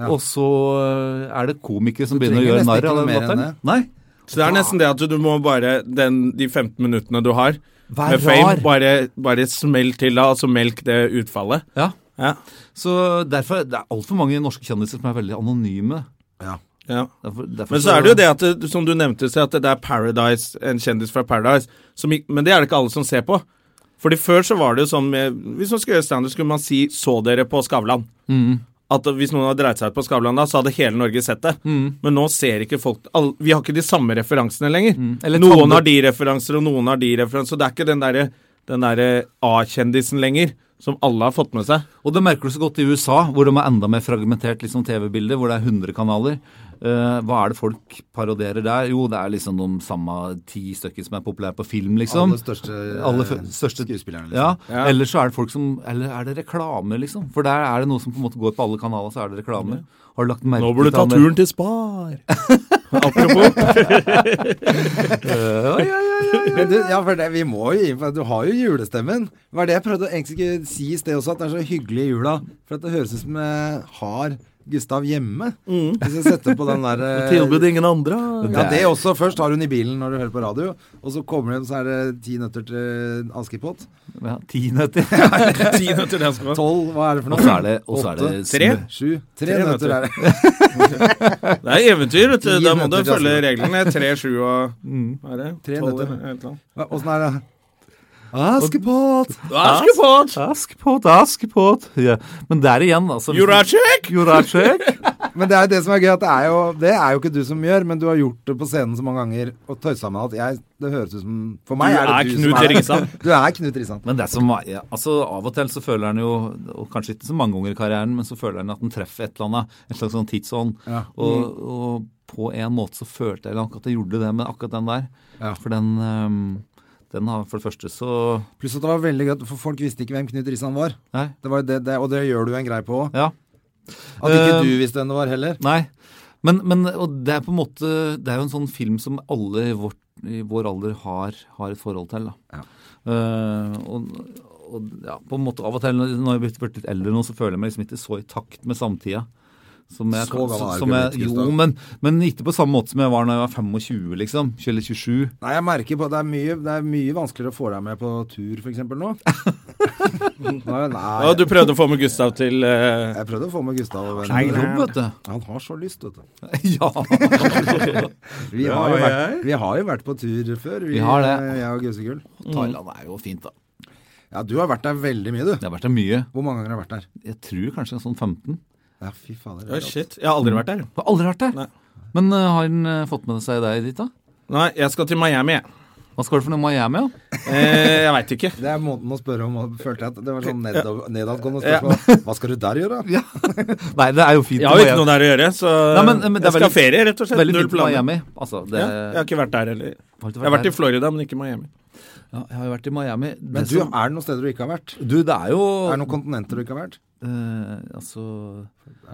E: og så øh, er det komikere som
B: Du
E: begynner å
B: trenger
E: gjøre
B: nesten
E: narr
B: ikke
E: av
B: noe
E: den
B: mer enn
E: latteren. Nei.
A: Så det er nesten det at du, du må bare den, De 15 minuttene du har
E: Vær
A: med fame,
E: rar.
A: bare, bare smell til da, og så melk det utfallet.
E: Ja.
A: Ja.
E: Så derfor det er altfor mange norske kjendiser som er veldig anonyme.
A: ja.
E: Derfor, derfor
A: Men så er det jo det at, det- som du nevnte, så at det er Paradise, en kjendis fra Paradise som, gikk- Men det er det ikke alle som ser på. Fordi før så var det jo sånn med, Hvis man skulle gjøre standup, skulle man si 'så dere på Skavlan'. At Hvis noen hadde dreit seg ut på Skavlan da, så hadde hele Norge sett det. Men nå ser ikke folk all, Vi har ikke de samme referansene lenger.
E: Eller
A: noen
E: Tande-
A: har de referanser, og noen har de referanser. Så det er ikke den derre den derre A-kjendisen lenger, som alle har fått med seg.
E: Og det merker du så godt i USA, hvor de er enda mer fragmentert liksom, TV-bildet, hvor det er 100 kanaler. Eh, hva er det folk paroderer der? Jo, det er liksom de samme ti stykker som er populære på film, liksom.
B: Alle største, eh,
E: Alle f- største
B: skuespillerne, liksom.
E: Ja.
A: Ja.
E: Eller så er det folk som Eller er det reklame, liksom? For der er det noe som på en måte går på alle kanaler, så er det reklame. Har du lagt merke
A: Nå burde du ta
E: det?
A: turen til Spar. Apropos.
B: Men du, ja, for det, vi må jo gi for Du har jo julestemmen. Det var det jeg prøvde å egentlig ikke si i sted også, at det er så hyggelig i jula. For at det høres ut som jeg har Gustav hjemme.
A: Mm.
B: Hvis jeg setter på den der eh,
A: ingen andre
B: Ja, det også. Først har hun i bilen når du hører på radio, og så kommer hun, så er det ti nøtter til Askepott.
E: Ja, ti nøtter.
A: Ti nøtter til Askepott.
B: Tolv, hva er det for
E: Og
B: noe?
E: så er det, og så er det
B: Åtte,
A: tre.
E: smør.
B: Sju. Tre,
A: Tre
B: nøtter
A: nøtter.
B: er det.
A: Det er eventyr, vet du.
B: Ti
A: Da må du
B: nøtter til
A: følge
B: Askepott.
A: reglene. Tre, sju og Hva er det?
B: Tre
A: Tolv,
B: nøtter.
A: eller et eller annet.
B: Hva- Åssen er det? Askepott!
A: Askepott!
E: Askepott, askepott. Ja. Men der igjen, altså. hvis-
A: Juracek!
E: Juracek.
B: Men det er jo det som er gøy, at det er jo Det er jo ikke du som gjør, men du har gjort det på scenen så mange ganger og tøysa med at jeg Det høres ut som For meg
A: Du
B: er
A: er
B: det du som
A: Knut
B: er
A: Risan.
B: Du er Knut Risan.
E: Men det som var, ja, altså av og til så føler han jo, og kanskje ikke så mange ganger i karrieren, men så føler han at han treffer et eller annet, en slags sånn tidsånd.
B: Ja. Mm.
E: Og, og på en måte så følte jeg nok at jeg gjorde det med akkurat den der.
B: Ja.
E: For den, ehm, den har, for det første så,
B: Pluss at det var veldig gøy, at- for folk visste ikke hvem Knut Risan var.
E: nei,
B: Det var jo det, det, og det gjør du en greie på òg.
E: ja,
B: At ikke
E: Eh,
B: du visste hvem det var heller.
E: Nei. Men, men og det er på en måte Det er jo en sånn film som alle i, vårt, i vår alder har, har et forhold til. da. Eh, og, og ja, på en måte av og til når når jeg har blitt litt eldre nå, så føler jeg meg liksom ikke så i takt med samtida. Som jeg,
B: Så gammel er du
E: som
B: ikke
E: jeg,
B: blitt,
E: jo,
B: Gustav.
E: men, men ikke på samme måte som jeg var da jeg var 25, liksom. Eller 27.
B: Nei, jeg merker på Det er mye, det er mye vanskeligere å få deg med på tur, f.eks. nå. Nei,
A: Ja,
B: nei
A: du prøvde å få med Gustav til eh,
B: jeg prøvde å få med Gustav.
E: Nei,
B: Men
E: jobb, vet du.
B: han har så lyst, vet du.
E: ja.
B: Vi har, jo vært, vi har jo vært på tur før, vi,
E: Vi har det.
B: jeg og Gusegull.
E: Thailand er jo fint, da.
B: Ja, du har vært der veldig mye, du.
E: Det har vært der mye.
B: Hvor mange ganger har du vært der?
E: Jeg tror kanskje sånn 15.
B: Ja, fy fader. det
A: Ja,
B: er rått.
A: shit. Jeg har aldri vært der.
E: Har aldri vært der.
A: Nei.
E: Men eh, har han eh, fått med seg deg dit, da?
A: Nei, jeg skal til Miami, jeg.
E: Hva skal du for noe Miami, da?
A: Eh, jeg veit ikke.
B: Det er måten å spørre om. og Følte jeg at det var sånn nedover, nedadgående spørsmål. Hva skal du der gjøre? da?
E: Nei, det er jo fint.
A: Jeg har jo ikke noe der å gjøre, så
E: Nei, men- men det
A: jeg
E: er
A: skal ha
E: veldig-
A: ferie, rett og slett.
E: Veldig
A: Null
E: fint på
A: planer.
E: Miami. Altså, det,
A: Ja, jeg har ikke vært der heller.
E: Har du ikke
A: Jeg har vært
E: der?
A: i Florida, men ikke Miami.
E: Ja, jeg har jo vært i Miami. Det
B: Men du,
E: som-
B: er det noen steder du ikke har vært?
E: du, det er jo
B: Er det noen kontinenter du ikke har vært?
E: eh, Altså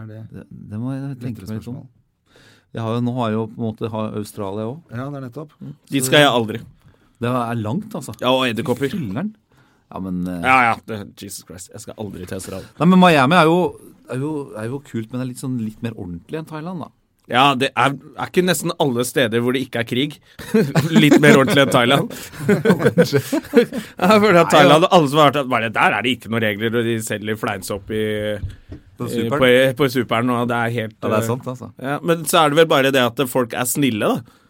B: Er det
E: det, det må jeg tenke
B: lettere
E: meg litt
B: spørsmål?
E: om. Jeg har jo, nå har jeg jo på en måte har Australia òg.
B: Ja, det er nettopp.
A: Dit skal jeg aldri.
E: Det er langt, altså.
A: Ja, og edderkopper.
E: Fylleren. Ja, men eh,
A: Ja, ja. Det, Jesus Christ. Jeg skal aldri til Australia.
E: Nei, men Miami er jo, er jo, er jo kult, men det er litt, sånn, litt mer ordentlig enn Thailand, da.
A: Ja, det er, er ikke nesten alle steder hvor det ikke er krig. Litt mer ordentlig enn Thailand. jeg føler at Thailand, alle som har vært der, bare Der er det ikke noen regler, og de selger fleinsopp i, i, på, på superen, og det er helt
E: Ja, det
A: eh,
E: er sant, altså.
A: Ja, men så er det vel bare det at folk er snille, da.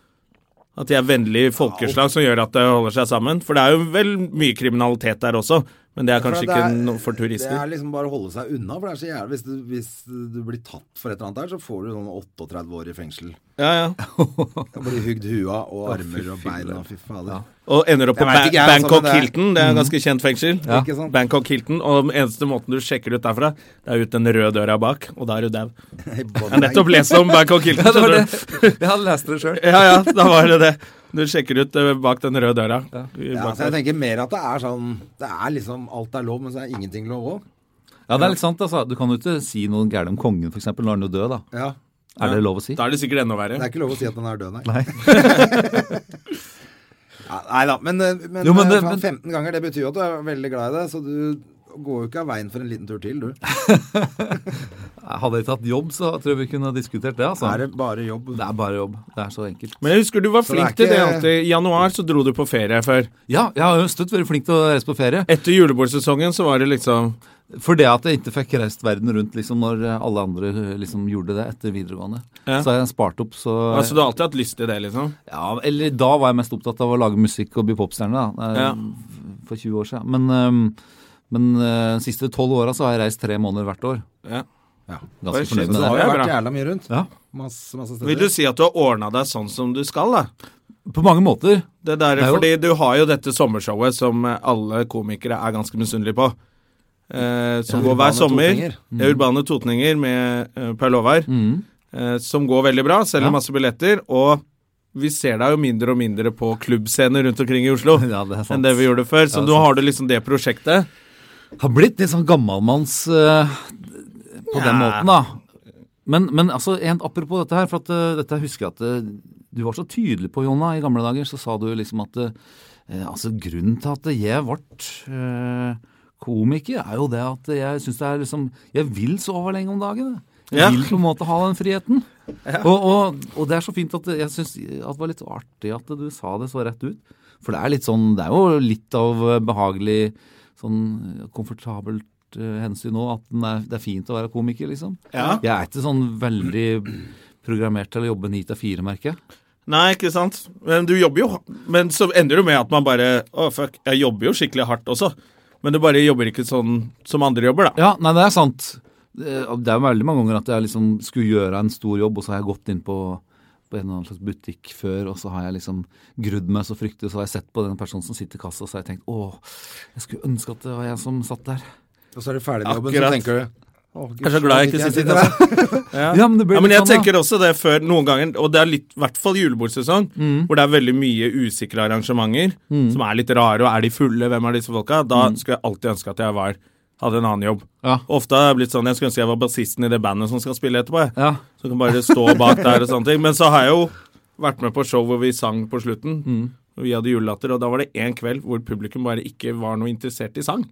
A: At de er vennlige folkeslag som gjør at det holder seg sammen. For det er jo vel mye kriminalitet der også, men det er kanskje
B: For det er-
A: ikke noe
B: Det
A: for
B: er
A: turister.
B: liksom bare å holde seg unna. For det er så jævlig hvis du, hvis du blir tatt for et eller annet der, så får du sånn 38 år i fengsel.
A: Ja, ja.
B: Da blir du hugd hua og armer og bein og fy fader.
A: Og ender opp på
B: Jeg vet ikke,
A: ba
B: jeg, altså,
A: Bangkok
B: men det er-
A: Hilton, det er et ganske kjent fengsel.
B: Ikke sant?
A: Bangkok Hilton, og den eneste måten du sjekker ut derfra, det er ut den røde døra bak, og da er du dau. Jeg har nettopp lest om Bangkok Hilton.
E: det var
A: skjønner du.
E: Jeg hadde lest det sjøl.
A: Ja, ja, da var det det. Du sjekker ut eh, bak den røde døra.
B: Ja,
A: Bak
B: så jeg
A: der.
B: tenker mer at det er sånn Det er liksom alt er lov, men så er ingenting lov òg.
E: Ja, det er litt sant, altså. Du kan jo ikke si noe gærent om kongen, f.eks. Når han er død, da.
B: Ja.
E: Er det lov å si?
A: Da er det sikkert enda
B: Det
A: verre.
B: er ikke lov å si at den er død, nei.
E: Nei.
B: Ja, nei da, men, eh, men,
E: Jo, men det-
B: faen, 15
E: men-
B: ganger, det betyr jo at du er veldig glad i det, så du går jo ikke av veien for en liten tur til, du.
E: Hadde jeg tatt jobb, så tror jeg vi kunne ha diskutert det, altså.
B: Er det bare jobb?
E: Det er bare jobb. Det er så enkelt.
A: Men jeg husker du var
B: det er
A: flink til det
B: ikke-
A: alltid. I januar så dro du på ferie før.
E: Ja, jeg har jo støtt vært flink til å reise på ferie.
A: Etter julebordsesongen så var det liksom
E: For det at jeg ikke fikk reist verden rundt liksom når alle andre liksom gjorde det etter videregående.
A: Ja.
E: Så har jeg spart opp, så
A: Altså du har alltid hatt lyst til det, liksom?
E: Ja, eller da var jeg mest opptatt av å lage musikk og bli popstjerne, da. eh,
A: Ja.
E: For 20 år siden. Men, ehm, men eh, de siste tolv åra så har jeg reist tre måneder hvert år.
A: Ja.
B: Ja.
A: Oi,
E: Ganske
A: shit,
E: fornøyd med
B: Så
A: det
B: har
A: er
E: det.
B: jeg
A: bra.
B: vært jævla mye rundt.
E: Ja,
B: Masse, masse
A: Vil du
B: steder.
A: si at du har ordna deg sånn som du skal, da?
E: På mange måter.
A: Det der,
E: Det er jo-
A: Fordi du har jo dette sommershowet som eh, alle komikere er ganske misunnelige på. Eh, som
B: Ja,
A: går
B: Urbane
A: hver sommer.
B: Totninger.
E: Mm.
A: Det er Urbane Totninger med eh, Per Håvard. Eh, som går veldig bra, selger
E: Ja.
A: masse billetter. Og vi ser deg jo mindre og mindre på klubbscener rundt omkring i Oslo
E: Ja, det er sant.
A: enn det vi gjorde før. Så
E: Ja, det er
A: nå
E: sant.
A: har du liksom det prosjektet.
E: Har blitt litt sånn gammalmanns eh, på den
A: Nja.
E: måten, da. Men, men altså, en, apropos dette her, for at, eh, dette husker jeg at eh, du var så tydelig på, Jonna, i gamle dager. Så sa du liksom at eh, altså, grunnen til at jeg ble eh, komiker, er jo det at jeg syns det er liksom Jeg vil sove lenge om dagen. jeg. Jeg
A: Ja.
E: vil på en måte ha den friheten. Og, og, og det er så fint at jeg syns det var litt artig at du sa det så rett ut. For det er litt sånn Det er jo litt av eh, behagelig, sånn eh, komfortabelt eh, hensyn òg, at den er, det er fint å være komiker, liksom.
A: Ja.
E: Jeg er ikke sånn veldig programmert til å jobbe ni til fire, merker jeg.
A: Nei, ikke sant. Men du jobber jo Men så ender det jo med at man bare Å, fuck, jeg jobber jo skikkelig hardt også. Men du bare jobber ikke sånn som andre jobber, da.
E: Ja, nei, det er sant. Eh, og Det er jo veldig mange ganger at jeg liksom skulle gjøre en stor jobb, og så har jeg gått inn på på en eller annen slags butikk før, og så har jeg liksom grudd meg så fryktelig, så har jeg sett på den personen som sitter i kassa, og så har jeg tenkt åh, jeg skulle ønske at det var jeg som satt der.
B: Og så er du ferdig med jobben, så
A: Akkurat.
B: tenker du «Å, Gud,
A: Jeg er så glad jeg ikke sitter der.
E: Ja, men det blir
A: Ja, men
E: litt
A: jeg
E: sånn, da.
A: tenker også det før noen ganger, og det er litt, i hvert fall julebordsesong, hvor det er veldig mye usikre arrangementer som er litt rare, og er de fulle, hvem er disse folka? Da skulle jeg alltid ønske at jeg var hadde en annen jobb.
E: Ja.
A: Ofte har jeg blitt sånn, jeg skulle ønske jeg var bassisten i det bandet som skal spille etterpå. Jeg.
E: Ja.
A: Så kan bare stå bak der og sånne ting. Men så har jeg jo vært med på show hvor vi sang på slutten.
B: Mm.
A: Og vi hadde julelatter, og da var det en kveld hvor publikum bare ikke var noe interessert i sang.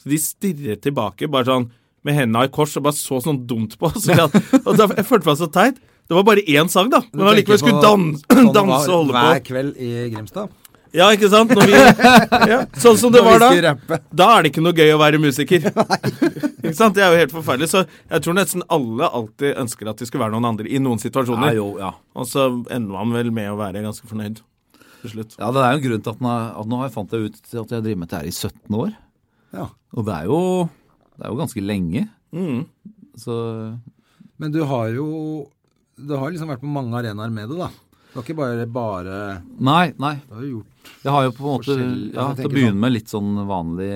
A: Så de stirret tilbake bare sånn med hendene i kors og bare så sånn dumt på oss. Og da, jeg følte meg så teit. Det var bare én sang, da. Men allikevel skulle danse,
B: Sånn
A: danse og holde
B: var Hver
A: på.
B: kveld i Grimstad.
A: Ja, ikke sant? Når vi, ja, sånn som det
B: Når
A: var
B: vi
A: da.
B: skulle rappe.
A: Da er det ikke noe gøy å være musiker. ikke sant? Det er jo helt forferdelig. Så jeg tror nesten alle alltid ønsker at de skulle være noen andre i noen situasjoner.
E: Ja, jo, ja.
A: Og så ender man vel med å være ganske fornøyd til slutt.
E: Ja, det er jo en grunn til at, den er, at nå har jeg fant jeg ut at jeg har drevet med dette her i 17 år.
B: Ja.
E: Og det er jo, det er jo ganske lenge. Så
B: Men du har jo Du har liksom vært på mange arenaer med det, da. Du har ikke bare, bare
E: Nei, nei.
B: Du har jo gjort
E: Jeg har jo på en måte
B: Forskjell- ja,
E: ja,
B: jeg
E: Til å
B: tenker
E: begynne
B: sånn.
E: med litt sånn vanlig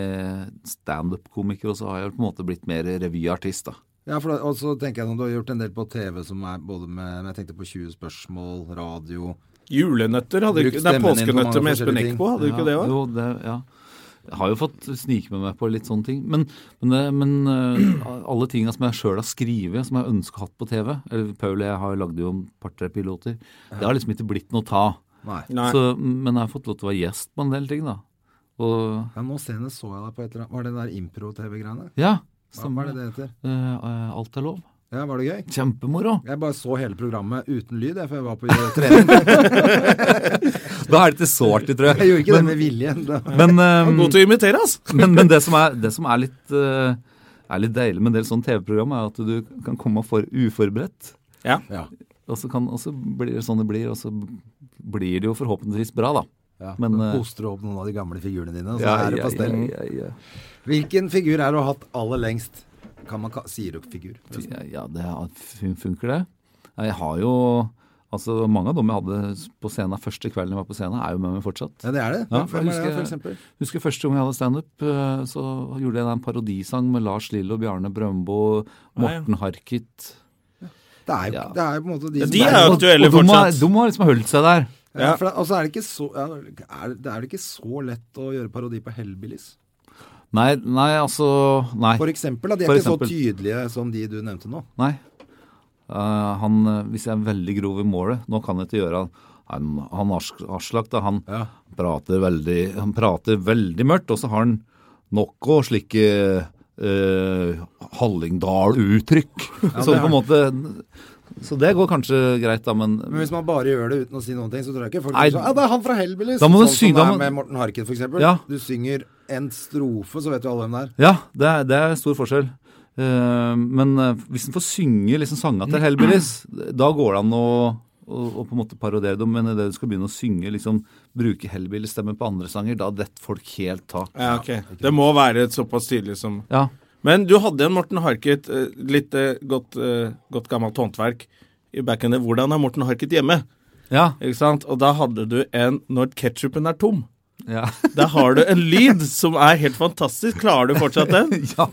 E: standup-komiker, og så har jeg på en måte blitt mer revyartist, da.
B: Ja, for da, og så tenker jeg sånn, du har gjort en del på TV som er både med men Jeg tenkte på 20 spørsmål, radio
A: Julenøtter hadde
B: Bruk
A: ikke Det er
B: stemmen din på mange
A: påskenøtter med Espen
B: forskjellige
A: Eckbo, hadde du
E: ja,
A: ikke det òg?
E: Jo, det, ja. Jeg har jo fått snike med meg på litt sånne ting. Men, men, det- men eh, alle tinga som jeg sjøl har skrevet, som jeg ønsker hatt på TV eller Paul og jeg har jo lagd jo en par-tre piloter. Det har liksom ikke blitt noe ta.
B: Nei.
A: Nei.
E: Så, men jeg har fått lov til å være gjest på en del ting, da. Og
B: Ja, nå senest så jeg deg på et eller annet Var det den der impro-TV-greiene?
E: ja.
B: Hva hva
E: Stemmer
B: er det det heter?
E: Eh, eh, alt er lov.
B: Ja, var det gøy?
E: Kjempemoro.
B: Jeg bare så hele programmet uten lyd, jeg, for jeg var på trening.
E: Da er det ikke så artig, tror
B: Jeg gjorde ikke det med vilje. Det-
E: Men, eh,
A: God til å imitere, altså!
E: men, men det som er, det som er litt eh, er litt deilig med en del sånne TV-program, er at du kan komme for uforberedt.
A: Ja.
B: Ja.
E: Og så, kan, og så blir det sånn det blir, og så blir det jo forhåpentligvis bra, da.
B: Ja,
E: Men,
B: men,
E: eh,
B: Poster du opp noen av de gamle figurene dine, og så er det på stell.
E: ja, ja,
B: Hvilken figur er det du har hatt aller lengst? Kan man ka Sier du figur?
E: ja. ja, ja det er- fun- funker, det. Nei, Jeg har jo Altså, Mange av dem jeg hadde på scenen første kvelden jeg var på scenen, er jo med meg fortsatt.
B: Ja, det er det.
E: Ja,
B: Hvem er det,
E: jeg
B: for
E: husker-
B: eksempel?
E: Husker første gang jeg hadde standup, eh, så gjorde jeg en parodisang med Lars Lillo, Bjarne Brøndbo, Morten Harket.
B: Det er, jo,
E: Ja.
B: det er jo på en måte de
A: Ja,
B: som
A: de
B: er,
A: er jo aktuelle
E: og de har-
A: fortsatt.
E: De har liksom holdt seg der.
B: ja. for det- Og så er det ikke så ja, er, Det er vel ikke så lett å gjøre parodi på Hellbillies?
E: Nei, nei, altså Nei.
B: For eksempel, da. De er
E: For
B: ikke så
E: eksempel.
B: tydelige som de du nevnte nå.
E: nei. Eh, han, eh, hvis jeg er veldig grov i målet Nå kan jeg ikke gjøre han Han Ars- Aslak, da, han
B: Ja.
E: prater veldig Han prater veldig mørkt, og så har han noe slike eh, Hallingdal-uttrykk. så på en måte Så det går kanskje greit, da, men
B: Men hvis man bare gjør det uten å si noen ting, så tror jeg ikke folk
E: Nei.
B: sier sånn Ja, det er han fra Hellbillies!
E: Da må
B: sånn
E: du sy-
B: som det
E: da
B: er
E: må-
B: med Morten Harket, for eksempel.
E: Ja.
B: Du synger en strofe, så vet jo alle hvem det er.
E: Ja, det er, det er stor forskjell. Eh, men eh, hvis en får synge liksom sanga til Hellbillies, da går det an å, å, å på en måte parodiere dem. Men idet du skal begynne å synge, liksom bruke Hellbillies-stemmen på andre sanger, da detter folk helt av.
A: Ja, ok. Det må være et såpass tydelig som
E: Ja.
A: Men du hadde en Morten Harket, eh, litt eh, godt, eh, godt gammelt håndverk i back in the Hvordan er Morten Harket hjemme?
E: Ja.
A: Ikke sant? Og da hadde du en Når ketsjupen er tom.
E: Ja.
A: Der har du en lyd som er helt fantastisk. Klarer du fortsatt den?
E: ja.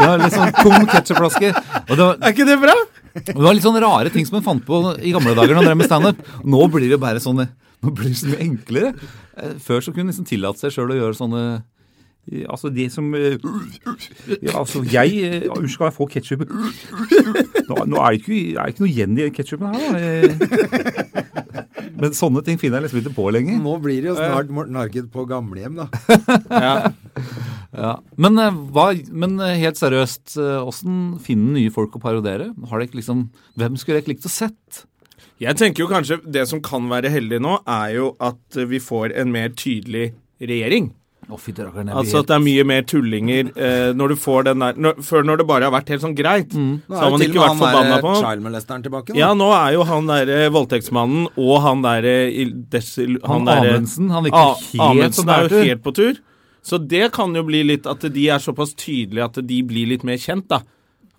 E: Ja, litt sånn tom ketsjupflaske. Og det var,
A: Er ikke det bra?
E: og det var litt sånne rare ting som en fant på i gamle dager når en drev med standup. Nå blir det bare sånne Nå blir det så mye enklere. Eh, Før så kunne en liksom tillate seg sjøl å gjøre sånne
F: Altså, det som eh, ja, Altså, jeg eh, ja, Unnskyld, kan jeg få ketsjup? Nå, nå er det ikke, er det ikke noe igjen i ketsjupen her, da. Eh,
E: Men sånne ting finner jeg liksom ikke på lenger.
B: Nå blir det jo snart Morten Harket på gamlehjem, da.
E: Ja. Men, eh, hva, men eh, helt seriøst, åssen finner nye folk å parodiere? Har dere liksom, hvem skulle dere likt å sett?
A: Jeg tenker jo kanskje det som kan være heldig nå, er jo at eh, vi får en mer tydelig regjering.
E: Å, fy drakker'n. jeg
A: Altså
E: blir-
A: at det er mye mer tullinger eh, når du får den der når, Før når det bare har vært helt sånn greit,
E: Mm.
B: Nå
A: så har
B: jo
A: man
B: til og
A: ikke
B: med
A: vært
B: han
A: forbanna på
E: eh,
B: der
A: ham.
B: child molesteren tilbake nå.
A: Ja, nå er jo han derre voldtektsmannen og han eh, derre il- desil-
E: Han
A: derre-
E: Amundsen, han virker
A: eh, A-
E: helt
A: Amundsen
E: sånn
A: er
E: der,
A: jo
E: du.
A: helt på tur. Så det kan jo bli litt at de er såpass tydelige at de blir litt mer kjent, da.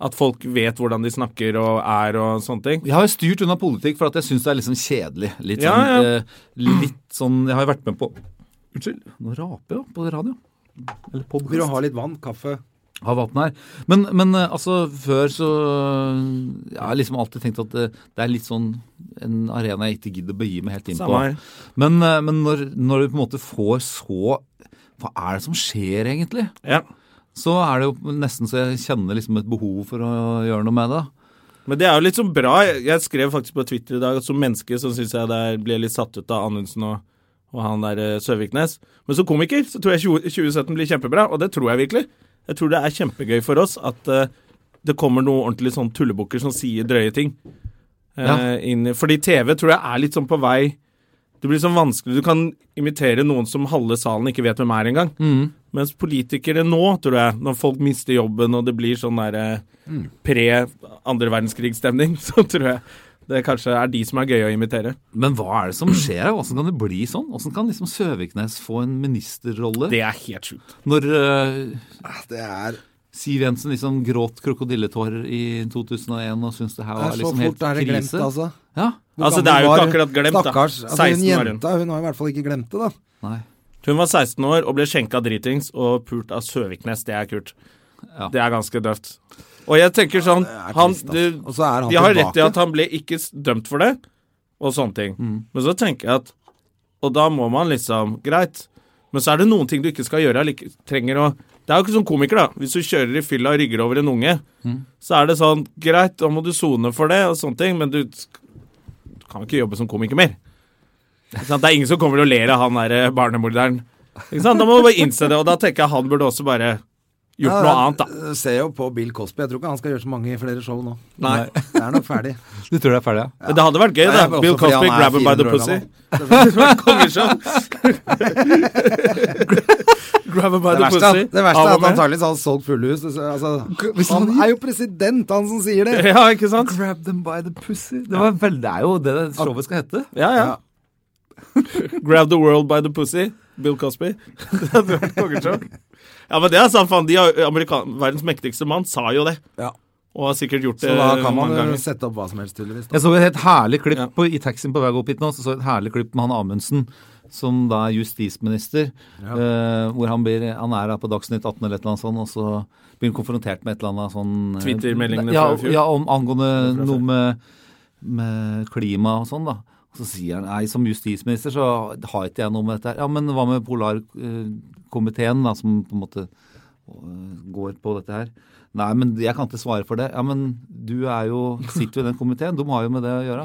A: At folk vet hvordan de snakker og er og sånne ting.
E: Jeg har jo styrt unna politikk for at jeg syns det er liksom kjedelig. Litt
A: Ja,
E: sånn,
A: ja.
E: eh, litt sånn Jeg har jo vært med på Unnskyld, nå raper jeg jo på radio. Eller
B: Vil du
E: podkast.
B: ha litt vann, kaffe?
E: Har vann her. Men, men eh, altså, før så Jeg har liksom alltid tenkt at det, det er litt sånn en arena jeg ikke gidder å begi meg helt inn på.
A: Samme her.
E: Men, eh, men når, når du på en måte får så Hva er det som skjer, egentlig?
A: Ja.
E: Så er det jo nesten så jeg kjenner liksom et behov for å gjøre noe med det.
A: Men det er jo litt sånn bra. Jeg- Jeg skrev faktisk på Twitter i dag at som menneske så syns jeg det ble litt satt ut av Anundsen og, og han der eh, Søviknes. Men som komiker så tror jeg 20, 2017 blir kjempebra, og det tror jeg virkelig. Jeg tror det er kjempegøy for oss at eh, det kommer noen ordentlig sånn tullebukker som sier drøye ting. eh,
E: Ja.
A: inn, i- fordi TV tror jeg er litt sånn på vei Det blir sånn vanskelig. Du kan imitere noen som halve salen ikke vet hvem er engang. Mens politikere nå, tror jeg, når folk mister jobben og det blir sånn derre pre andre verdenskrig-stemning, så tror jeg det kanskje er de som er gøye å imitere.
E: Men hva er det som skjer? her? Hvordan kan det bli sånn? Hvordan kan liksom Søviknes få en ministerrolle
A: Det er helt sjukt.
E: når eh,
B: Det er
E: Siv Jensen liksom gråt krokodilletårer i 2001 og syntes det
B: Det
E: her
B: er
E: var
B: så
E: liksom
B: fort
E: helt
B: er det glemt,
E: krise.
B: altså.
E: Ja.
B: Hvor
A: Altså,
B: gammel
A: det er jo ikke
B: var-
A: akkurat glemt, da.
B: Stakkars. Altså,
A: 16
B: hun
A: var hun.
B: jenta, hun har i hvert fall ikke glemt det, da.
E: Nei.
A: Hun var 16 år og ble skjenka dritings og pult av Søviknes. Det er kult.
E: Ja.
A: Det er ganske døvt. Og jeg tenker sånn
B: er
A: han,
B: trist, altså.
A: du,
B: Og så er han
A: De har rett i
B: tilbake. Mm.
A: at han ble ikke s- dømt for det, og sånne ting. Men så tenker jeg at Og da må man liksom Greit. Men så er det noen ting du ikke skal gjøre. Like, trenger å Det er jo ikke som komiker, da. Hvis du kjører i fylla og rygger over en unge,
B: Mm.
A: så er det sånn Greit, da må du sone for det, og sånne ting, men du, sk- du kan ikke jobbe som komiker mer. Ikke sant? Det er ingen som kommer og ler av han derre barnemorderen. Ikke sant? Da må du bare innse det, og da tenker jeg han burde også bare gjort
B: Ja,
A: noe annet, da.
B: jeg Ser jo på Bill Cosby. Jeg tror ikke han skal gjøre så mange flere show nå.
A: Nei.
B: Det er nok ferdig.
E: Du tror det er ferdig, ja?
A: Men det hadde vært gøy,
B: Nei,
A: da.
B: jeg- også
A: Bill
B: fordi han
A: Cosby
B: er
A: grabber by
B: 400
A: the
B: år
A: pussy.
B: gammel.
A: Kongeshow. Grabber by
B: Det
A: the
B: verste,
A: pussy.
B: er- det verste er
A: Av og
B: at
A: med.
B: antakeligvis har han solgt fulle hus. Det- Altså, han er jo president, han som sier det!
A: Ja, ikke sant?
E: Grab them by the pussy. Det, var vel, det er jo det showet skal hete.
A: Ja, ja. Grab the world by the pussy. Bill Cosby. Det hadde vært kongeshow. Ja, men det er sant, faen. De har- amerikan- Verdens mektigste mann sa jo det.
B: Ja.
A: Og har sikkert gjort det
B: Så da kan man
A: mange
B: jo
A: ganger.
B: sette opp hva som helst, tydeligvis. da.
E: Jeg så et helt herlig klipp
A: Ja.
E: på, i taxien på vei opp hit nå. Så så jeg et herlig klipp med han Amundsen, som da er justisminister. eh, hvor han, blir, han er da på Dagsnytt 18 eller et eller annet sånt, og så blir han konfrontert med et eller annet sånn eh,
A: Twitter-meldingene
E: ja,
A: fra i fjor.
E: Ja, om angående noe med, med klima og sånn, da. Og så sier han nei, som justisminister så har ikke jeg noe med dette her. Ja, men hva med Polarkomiteen, da, som på en måte eh, går på dette her? Nei, men jeg kan ikke svare for det. Ja, men du er jo, sitter jo i den komiteen, de har jo med det å gjøre.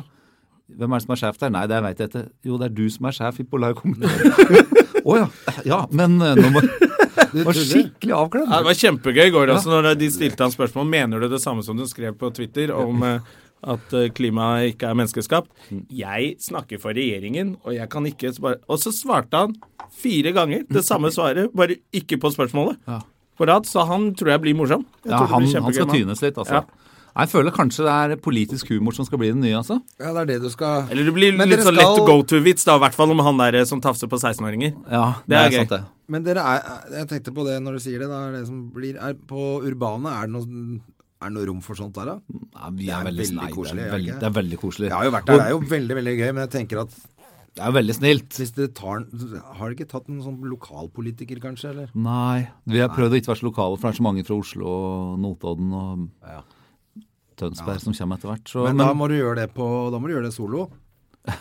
E: Hvem er det som er sjef der? Nei, det veit jeg ikke. Jo, det er du som er sjef i Polarkomiteen. Å ja. Ja, men eh, nå må
B: Du
E: var
B: tuller.
E: skikkelig
A: Ja, det
E: avkledd.
A: var kjempegøy i går også, når de stilte han spørsmål Mener du det samme som du skrev på Twitter om eh, at eh, klimaet ikke er menneskeskapt. Jeg snakker for regjeringen, og jeg kan ikke svare Og så svarte han fire ganger det samme svaret, bare ikke på spørsmålet.
E: Ja.
A: På rad, så han tror jeg blir morsom. Jeg
E: Ja,
A: tror det
E: han,
A: blir
E: han
A: kjempegøy
E: skal
A: med han.
E: tynes litt, altså.
A: Ja.
E: Nei, Jeg føler kanskje det er politisk humor som skal bli den nye, altså.
B: Ja, det er det du skal
A: Eller det blir
B: Men
A: litt
B: dere
A: sånn lett
B: skal-
A: go to-vits, da, i hvert fall om han der eh, som tafser på 16-åringer.
E: Ja,
A: Det er gøy.
E: sant, det.
B: Men dere er Jeg tenkte på det når du sier det. Da, er det som blir, er, på Urbane, er det, noe, er det noe rom for sånt der, da?
E: Ja, vi er,
B: er
E: veldig,
B: veldig
E: nei,
B: koselig, er
E: Det er
B: det
E: veldig,
B: ikke?
E: det er veldig koselig.
B: Jeg har jo vært der, det er jo veldig, veldig gøy, men jeg tenker at
E: Det er jo veldig snilt.
B: hvis dere tar den Har dere ikke tatt en sånn lokalpolitiker, kanskje, eller?
E: Nei, vi har prøvd å ikke være så lokale, for det er så mange fra Oslo og Notodden og Tønsberg som kommer etter hvert. Så,
B: Men,
E: men,
B: da må du gjøre det på Da må du gjøre det solo.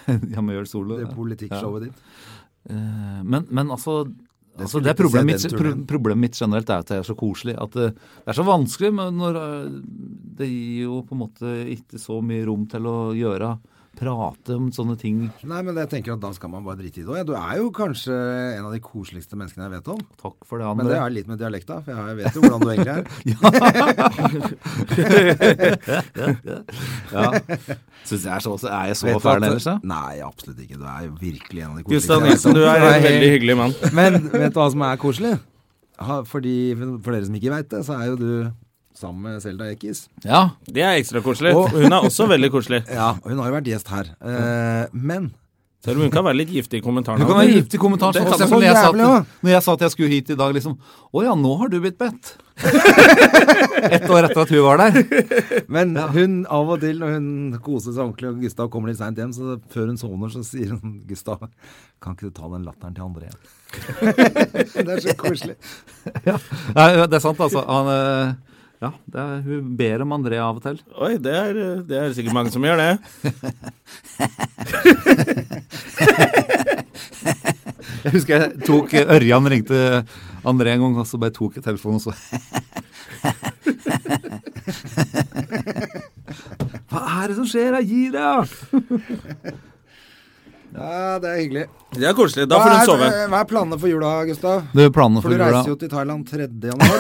E: jeg må gjøre solo.
B: Det
E: ja.
B: politikkshowet ditt.
E: Eh, Men, men altså Altså,
B: skulle
E: det er
B: ikke se
E: problemet, mitt,
B: den
E: pro
B: turneen.
E: problemet mitt generelt er at det er så koselig. At det, det er så vanskelig, men når eh, det gir jo på en måte ikke så mye rom til å gjøre Prate om sånne ting.
B: Nei, men jeg tenker at da skal man bare drite i det òg. Du er jo kanskje en av de koseligste menneskene jeg vet om.
E: Takk for det,
B: Men det
E: André.
B: er litt med dialekta, for jeg vet jo hvordan du egentlig er.
E: ja. Syns jeg er så, så er jeg så
B: Vet du
E: fæl
B: at-
E: ellers, ja?
B: Nei, absolutt ikke. Du er jo virkelig en av de koseligste.
A: Gustav
B: jeg vet om.
A: Nilsen, du er en veldig hyggelig mann.
B: Men vet du hva som er koselig? Ha, fordi, for dere som ikke veit det, så er jo du sammen med Selda Ekiz.
E: Ja.
A: Det er ekstra koselig.
B: Og-
A: Og hun er også veldig koselig.
B: Ja, og hun har jo vært gjest her. Eh, men
A: Selv om hun kan være litt giftig i kommentarene.
E: Du kan være gift i kommentaren.
B: Det
E: Sånn,
B: kan
E: som
B: jeg
E: når, jeg sa
B: så jævlig,
E: at, når jeg sa at jeg skulle hit i dag, liksom Å ja, nå har du blitt bedt. Ett år etter at hun var der.
B: Men hun av og til, når hun koser seg ordentlig og Gustav kommer litt seint hjem, så før hun sovner, så sier hun Gustav, kan ikke du ta den latteren til andre igjen? det er så koselig.
E: Nei, det er sant, altså. Han, eh, ja, det er, hun ber om André av og til.
A: Oi, det er, det er sikkert mange som gjør det.
E: Jeg husker jeg tok eh, Ørjan ringte André en gang, og så bare tok jeg telefonen og så Hva er det som skjer? da? Gi deg!
B: Ja, det er hyggelig.
A: Det er koselig. Da får hun sove.
B: er, hva er planene for jula, Gustav?
E: Du, planene
B: For
E: for
B: du
E: jula
B: reiser jo til Thailand 3. januar.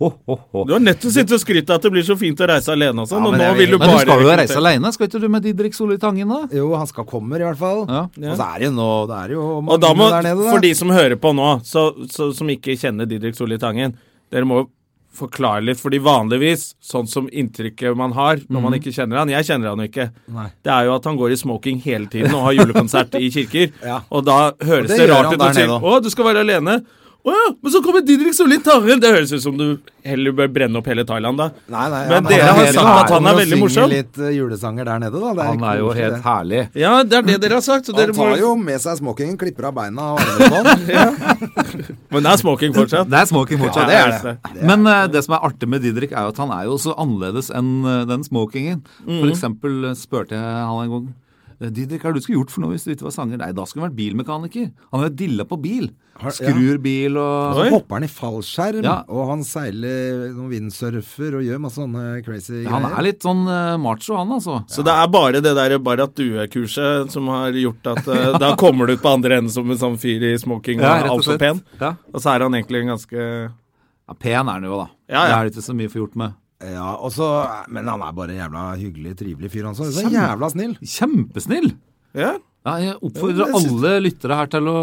E: Ho, ho, ho.
A: Du har nødt til å sitte og skryte at det blir så fint å reise alene og sånn,
B: Ja,
A: og
B: men
A: nå
B: jeg
A: vil du
B: vil-
E: Men
A: bare
E: du skal jo reise aleine, skal ikke du med Didrik Solli Tangen, da?
B: Jo, han skal komme i hvert fall.
E: Ja.
B: Og så er det jo nå Det er jo
A: Og da må,
B: der nede, da.
A: for de som hører på nå, så, så, som ikke kjenner Didrik Solli Tangen, dere må forklare litt, fordi vanligvis, sånn som inntrykket man har når man ikke kjenner han, jeg kjenner han jo ikke,
B: Mhm. Nei.
A: det er jo at han går i smoking hele tiden og har julekonsert i kirker,
B: Ja.
A: og da høres
B: Og det
A: det
B: gjør
A: rart
B: han
A: ut å
B: der
A: si
B: nede også.
A: å, du skal være alene, Å ja, men så kommer Didrik Solli Taril. Det høres ut som du heller bør brenne opp hele Thailand, da.
B: Nei, nei,
A: men
B: han-
A: dere
B: han
A: har
B: er-
A: sagt at han
B: jo
A: er veldig
B: synger
A: morsom.
B: litt eh, julesanger der nede, da. Det
E: Han
B: ikke
E: er jo
B: morsomt,
E: helt
B: det.
E: herlig.
A: Ja, det er det dere har sagt. Så dere
B: Han
A: må...
B: tar jo med seg smokingen, klipper av beina og armer og sånn.
A: Men det er smoking fortsatt.
E: Det er smoking fortsatt.
A: Ja, det er
E: Men eh, det som er artig med Didrik, er jo at han er jo så annerledes enn eh, den smokingen.
A: Mm.
E: For eksempel eh, spurte jeg han en gang eh, Didrik, hva er det du skulle gjort for noe hvis du ikke var sanger? Nei, da skulle han vært bilmekaniker. Han er dilla på bil. Skrur bil og
B: Så hopper han i fallskjerm,
E: Ja.
B: og han seiler noen windsurfer og gjør masse sånne crazy
E: Han
B: greier.
E: er litt sånn eh, macho, han altså.
A: Så det er bare det der Barrat-Due-kurset som har gjort at eh, da kommer du ut på andre enden som en sånn fyr i smoking og
E: Ja, rett og
A: altfor
E: slett.
A: pen.
E: Ja.
A: Og så er han egentlig en ganske
E: Ja, pen er han jo, da.
A: Ja, ja.
E: Det er det ikke så mye å få gjort med.
B: Ja, og så- men han er bare jævla hyggelig, trivelig fyr, han så. Så jævla snill.
E: Kjempesnill!
A: Ja,
E: Ja, jeg
B: Jo,
E: oppfordrer
B: det synes-
E: alle lyttere her til å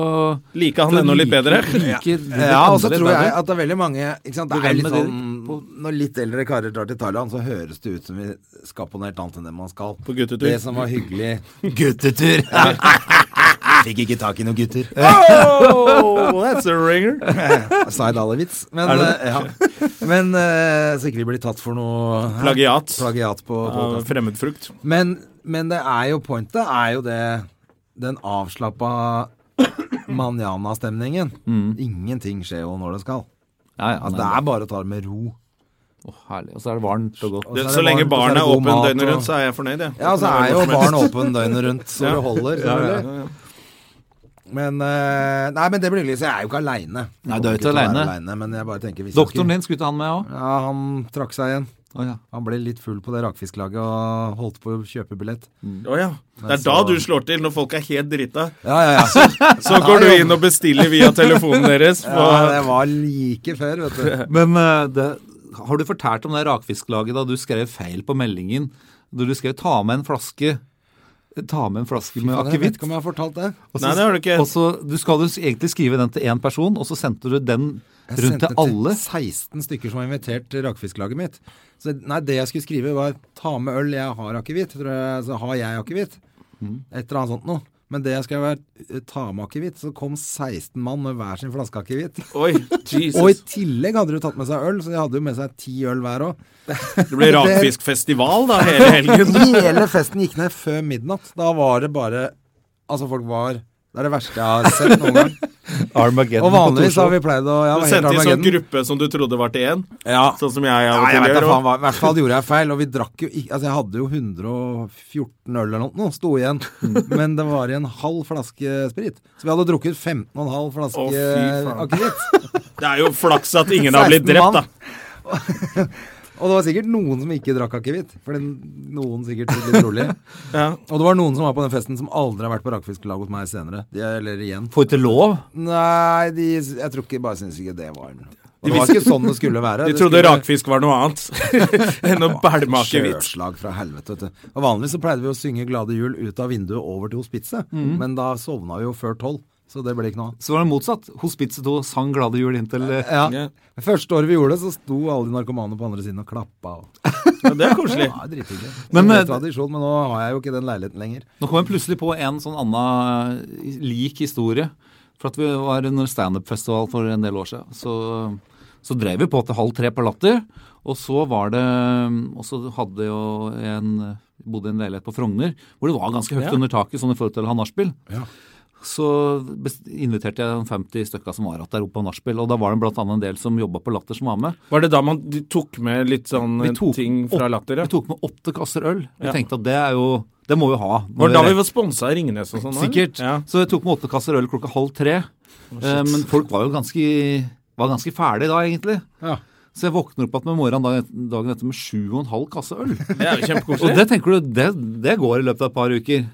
A: like han
E: til å
A: enda litt
E: like-
A: bedre.
E: like Didrik
B: Ja, og så
E: enda litt
B: tror jeg
E: bedre.
B: at det er veldig mange ikke sant? Det
E: Hvem
B: er litt
E: er
B: sånn, Når litt eldre karer drar til Thailand, så høres det ut som vi skal på noe helt annet enn det man skal.
A: På guttetur.
B: Det som var hyggelig
E: Guttetur!
B: Fikk ikke tak i noen gutter.
A: Oh, that's a ringer.
B: Zaid Ali-vits. Men, eh, ja. men eh, så ikke vi blir tatt for noe hæ?
A: Plagiat.
B: Plagiat altså. på
A: Av
B: podkasten.
A: Fremmedfrukt.
B: Men, men det er jo pointet er jo det Den avslappa manjana-stemningen.
A: Mm.
B: Ingenting skjer jo når det skal.
E: Ja, ja,
B: Altså,
E: nei,
B: det er bare å ta det med ro.
E: Å, herlig. Og så er det varmt og godt.
B: Og
A: Det,
B: er
A: så
B: det
A: lenge
B: varmt, og så det
A: barnet er
B: god
A: åpen
B: mat,
A: døgnet
B: og-
A: rundt, så er jeg fornøyd, jeg.
B: Ja, så er jo barn åpen døgnet rundt, så det holder. selvfølgelig. Men eh, Nei, men det blir hyggelig. Så jeg er jo ikke aleine.
E: Nei, du er jo ikke alene.
B: Men jeg bare tenker hvis jeg
E: Doktoren
B: skulle-
E: din skulle ta han med òg.
B: Ja, han trakk seg igjen.
E: ja.
B: Han ble litt full på det rakfisklaget og holdt på å kjøpe billett.
A: Å ja. Det er da du slår til, når folk er helt drita.
B: Ja, ja, ja.
A: Så går du inn og bestiller via telefonen deres. På,
B: det var like før, vet du.
E: Men eh, det, har du fortalt om det rakfisklaget da du skrev feil på meldingen? Da du skrev 'ta med en flaske'? Ta med en flaske med
B: Jeg vet
E: akevitt.
B: ikke om jeg har fortalt det.
E: Og så-
A: Nei, det har du ikke.
E: Og så, du skal jo egentlig skrive den til én person, og så sendte du den
B: Jeg
E: rundt til
B: sendte
E: alle.
B: 16 stykker som var invitert til rakfisklaget mitt. Så nei, det jeg skulle skrive var 'ta med øl, jeg har akevitt'. tror jeg- Så har jeg akevitt.
E: Mm.
B: Et eller annet sånt noe. Men det jeg skrev var eh, 'ta med akevitt'. Så kom 16 mann med hver sin flaske akevitt.
A: Oi, Jesus.
B: Og i tillegg hadde de tatt med seg øl, så de hadde jo med seg ti øl hver òg.
A: Det blir rakfiskfestival da hele helgen.
B: Hele festen gikk ned før midnatt. Da var det bare Altså, folk var Det er det verste jeg har sett noen gang.
E: Armageddon
B: Og vanligvis har vi pleid å ja,
A: Du
B: helt
A: sendte i sånn
B: Armageddon.
A: gruppe som du trodde var til én.
B: Ja.
A: Sånn som jeg av
B: Nei,
A: og
B: jeg
A: til
B: vet da
A: gjør.
B: faen hva. I hvert fall gjorde jeg feil. Og vi drakk jo ikke Altså, jeg hadde jo 114 øl eller noe, sto igjen.
A: Mm.
B: Men det var i en halv flaske sprit. Så vi hadde drukket 15,5 flaske
A: Å, fy faen.
B: akevitt.
A: Det er jo flaks at ingen har blitt
B: 16 mann.
A: drept, da.
B: Og det var sikkert noen som ikke drakk akevitt. For den- noen sikkert tok litt rolig.
A: Ja.
B: Og det var noen som var på den festen som aldri har vært på rakfisklag hos meg senere. De, eller igjen.
E: Får ikke lov.
B: Nei, de, jeg tror ikke bare syns ikke det var noe.
A: De
B: Det var
A: visste-
B: ikke sånn det skulle være.
A: De
B: Det
A: trodde
B: skulle-
A: rakfisk var noe annet enn å bælme akevitt.
B: Sjøslag fra helvete, vet du. Og vanligvis så pleide vi å synge 'Glade jul' ut av vinduet over til hospitset, men da sovna vi jo før tolv, så det ble ikke noe av.
E: Så var det motsatt. Hospitset 2 sang 'Glade jul' inntil eh,
B: Ja.
A: Ja.
B: Første året vi gjorde det, så sto alle de narkomane på andre siden og klappa. Og...
A: Ja, det er koselig.
B: Ja, drithyggelig.
E: Men,
B: Men,
E: eh,
B: tradisjon, men nå har jeg jo ikke den leiligheten lenger.
E: Nå kom jeg plutselig på en sånn annen eh, lik historie. For at vi var under standup-festival for en del år siden. Så, så drev vi på til halv tre på Latter. Og så var det Og så hadde jo en bodde i en leilighet på Frogner hvor det var ganske høyt
A: Ja.
E: under taket sånn i forhold til ha nachspiel.
B: Ja.
E: Så best- inviterte jeg de 50 stykka som var igjen der oppe på nachspiel. Og da var det blant annet en del som jobba på Latter som var med.
A: Var det da man de tok med litt sånn
E: Vi
A: eh,
E: tok
A: ting fra
E: åt-
A: latter?
E: Vi
A: Ja?
E: tok med åtte kasser øl. Vi
A: Ja.
E: tenkte at det er jo Det må vi ha.
A: Var det da
E: vi
A: vi var sponsa av Ringnes og sånn? eller?
E: Sikkert.
A: Ja.
E: Så jeg tok med åtte kasser øl klokka halv tre. Eh, men folk var jo ganske, var ganske ferdig da, egentlig.
B: Ja.
E: Så jeg våkner opp igjen med morgenen dagen- dagen etter med sju og en halv kasse øl.
A: Det er jo
E: Og
A: kjempekoselig.
E: det tenker du, det, det går i løpet av et par uker.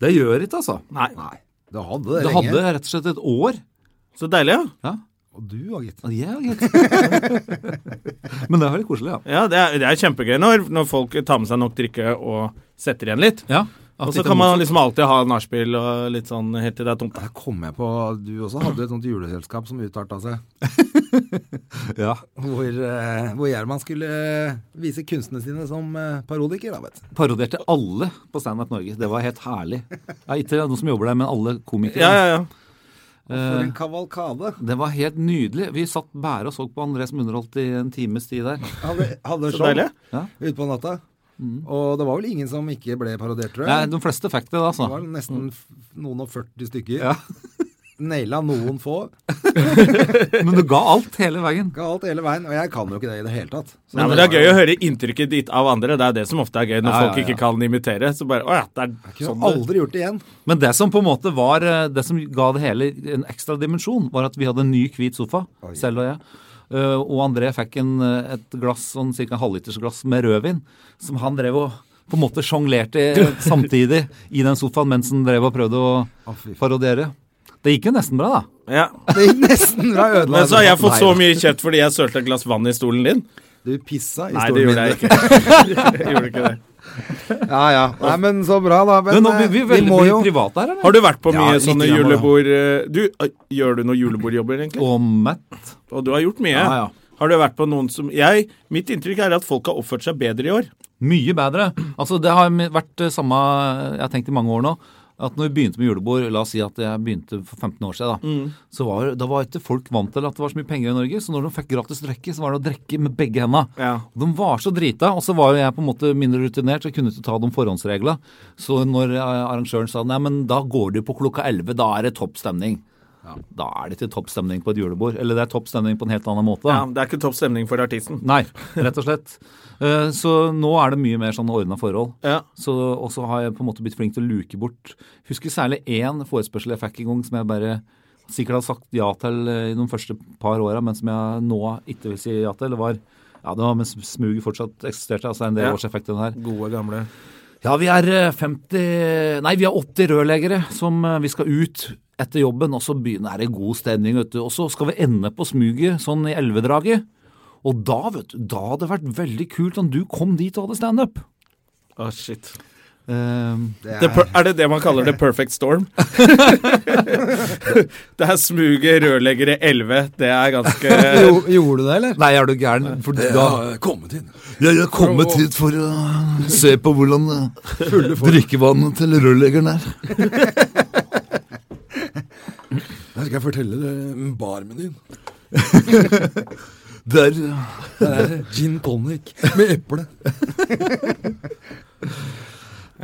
E: Det gjør ikke, altså.
A: Nei.
B: Nei, du hadde det,
E: Det
B: lenge.
E: hadde rett og slett et år.
A: Så deilig, ja.
E: Ja,
B: Og du òg, gitt.
E: Og ja gitt. Men det var litt koselig, ja.
A: ja det, er, det er kjempegøy når, når folk tar med seg nok drikke og setter igjen litt.
E: ja at
A: Og så
E: ikke
A: kan man
E: motsatt.
A: liksom alltid ha nachspiel og litt sånn helt til det er tomt.
B: Da kom jeg på Du også hadde jo et sånt juleselskap som utarta seg.
E: ja.
B: Hvor, eh, hvor Gjerman skulle eh, vise kunstene sine som eh, parodiker, da, vet du.
E: Parodierte alle på Standup Norge. Det var helt herlig. Ja, ikke noen som jobber der, men alle komikere.
A: Ja, ja, ja.
B: For en
E: Eh,
B: kavalkade.
E: det var helt nydelig. Vi satt bare og så på André som underholdt i en times tid der.
B: Hadde, hadde
A: Så
B: show
A: deilig.
E: Ja. Mm.
B: ute på natta. Og det var vel ingen som ikke ble parodiert, tror
E: Nei,
B: jeg.
E: de fleste fikk det, da,
B: Det var
E: altså.
B: nesten f- noen og 40 stykker.
E: Ja.
B: Naila noen få.
E: Men du ga alt hele veien.
B: Ga alt hele veien. Og jeg kan jo ikke det i det hele tatt. Så
A: Nei, men Det er gøy å høre inntrykket ditt av andre. Det er det som ofte er gøy når
E: Ja, ja,
A: folk ikke
E: ja.
A: kan imitere. Så bare, å ja, det er
B: Kunne
A: sånn det
B: aldri gjort det igjen.
E: Men det som på en måte var eh, Det som ga det hele en ekstra dimensjon, var at vi hadde en ny hvit sofa, selv og jeg. Eh, Og André fikk en, eh, et glass, sånn cirka en halvliters glass med rødvin, som han drev og på en måte sjonglerte eh, samtidig i den sofaen mens han drev og prøvde å
B: Å, fy faen.
E: parodiere. Det gikk jo nesten bra, da.
A: ja.
B: Det gikk nesten fra ødela.
A: Men så har jeg fått
B: Nei,
A: så mye kjeft fordi jeg sølte et glass vann i stolen din.
B: Du pissa i
A: Nei,
B: stolen
A: det
B: min.
A: gjorde jeg ikke. Jeg gjorde ikke det.
B: Ja, ja. Nei, men så bra, da. Men,
E: Men, nå blir
B: eh,
E: vi veldig
B: må jo
E: private her, eller?
A: Har du vært på
B: Ja,
A: mye
B: litt
A: sånne
B: grann, da.
A: julebord... eh, Du, eh, gjør du noen julebordjobber, egentlig?
E: Og Matt.
A: Og du har gjort mye.
E: Ja, ja.
A: Har du vært på noen som Jeg, Mitt inntrykk er at folk har oppført seg bedre i år.
E: Mye bedre. Altså, det har vært eh, samme Jeg har tenkt i mange år nå. At når vi begynte med julebord, la oss si at jeg begynte for 15 år siden, da,
A: Mm.
E: så var, da var ikke folk vant til at det var så mye penger i Norge. Så når de fikk gratis drikke, så var det å drikke med begge hendene.
A: Ja.
E: Og De var så drita, og så var jo jeg på en måte mindre rutinert, så jeg kunne ikke ta de forhåndsreglene. Så når eh, arrangøren sa nei, men da går du på klokka 11, da er det topp stemning. Da er det ikke topp stemning på et julebord. Eller det er topp stemning på en helt annen måte.
A: Ja, men Det er ikke topp stemning for artisten.
E: Nei, rett og slett. Eh, Så nå er det mye mer sånn ordna forhold.
A: Ja.
E: Så, og så har jeg på en måte blitt flink til å luke bort. Husker særlig én forespørsel jeg fikk en gang som jeg bare sikkert hadde sagt ja til eh, i de første par åra, men som jeg nå ikke vil si ja til. Det var ja, det var mens smuget fortsatt eksisterte. altså en del
A: Ja.
E: år siden jeg fikk den her.
A: Gode, gamle
E: Ja, vi er eh, 50 Nei, vi er 80 rørleggere som eh, vi skal ut etter jobben, og så begynner er det god stemning, vet du. Og så skal vi ende på smuget sånn i elvedraget. Og da, vet du, da hadde det vært veldig kult om du kom dit og hadde standup.
A: Å, shit.
E: Uh,
A: Det per, er det det man kaller the perfect storm? det er smuget, rørleggere, 11. Det er ganske
B: jo, Gjorde du det, eller?
E: nei, er du gæren? For da
G: kommet inn.
E: Jeg har kommet hit for å se på hvordan eh, drikkevannet til rørleggeren er.
G: Der skal jeg fortelle dere barmenyen.
E: Det er
G: Gin tonic med eple.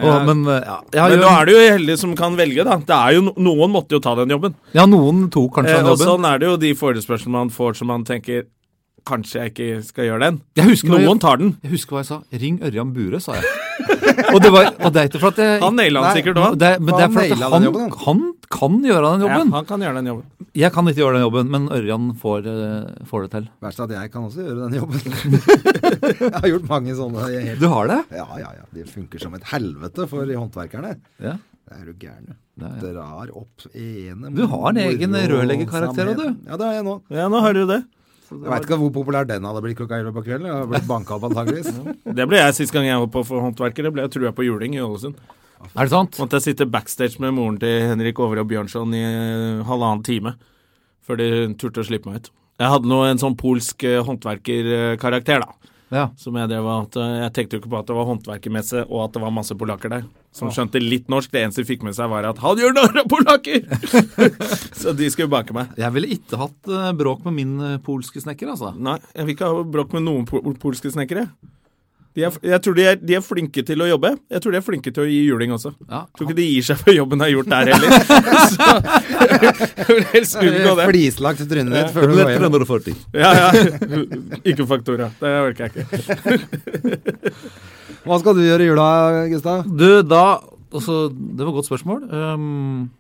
E: Men eh, ja, jeg har
A: Men
E: jo-
A: nå er det jo heldige som kan velge, da. Det er jo, no- noen måtte jo ta den jobben.
E: ja, noen tok kanskje
A: Eh,
E: den
A: og
E: jobben.
A: sånn er det jo de forespørslene man får som man tenker Kanskje jeg ikke skal gjøre den.
E: Jeg husker når jeg-
A: Noen tar den.
E: Jeg husker hva jeg sa. Ring Ørjan Bure, sa jeg. Og det, var, og det er ikke for at jeg
A: Han naila
B: Nei,
A: den sikkert òg.
E: det, er- men det er
B: Han
E: for at
B: naila den
E: han,
B: jobben, han.
E: han kan gjøre den
A: Ja,
E: jobben.
A: han kan gjøre den jobben.
E: Jeg kan ikke gjøre den jobben, men Ørjan får, eh, får det til.
B: Verst at jeg kan også gjøre den jobben. jeg har gjort mange sånne. Jeg helt...
E: Du har det?
B: Ja, ja, ja. Det funker som et helvete for de håndverkerne.
E: Ja.
B: Det er du gæren. du.
E: Nei, ja.
B: Drar opp ene
E: Du har en egen
B: moro-
E: rørleggerkarakter også, du.
B: Ja, det har jeg nå.
A: Ja, nå hører du det.
B: Jeg veit ikke hvor populær den hadde blitt klokka elleve på kvelden. Jeg hadde blitt banka opp antageligvis.
A: Det ble jeg sist gang jeg holdt på for håndverkere. Ble jeg trua på juling i Ålesund.
E: Er det sant?
A: Måtte jeg sitte backstage med moren til Henrik Over og Bjørnson i eh, halvannen time før de turte å slippe meg ut. Jeg hadde nå en sånn polsk eh, håndverkerkarakter, da.
E: Ja.
A: Som jeg drev av at eh, Jeg tenkte jo ikke på at det var håndverkermesse, og at det var masse polakker der. Som skjønte litt norsk. Det eneste de fikk med seg, var at 'han gjør narr av polakker'! Så de skulle bake meg.
E: Jeg ville ikke hatt eh, bråk med min eh, polske snekker, altså.
A: Nei, jeg vil ikke ha bråk med noen pol polske snekkere. De er, jeg tror de er, de er flinke til å jobbe. Jeg tror de er flinke til å gi juling også.
E: Ja.
A: Jeg tror ikke de gir seg for jobben de har gjort der heller. Så jeg vil helst unngå det.
B: Flislagt trynet ditt før du går hjem.
A: Ja, ja. Ikke faktura. Det orker jeg ikke.
B: Hva skal du gjøre i jula, Gustav?
E: Du, da altså, Det var et godt spørsmål. Um,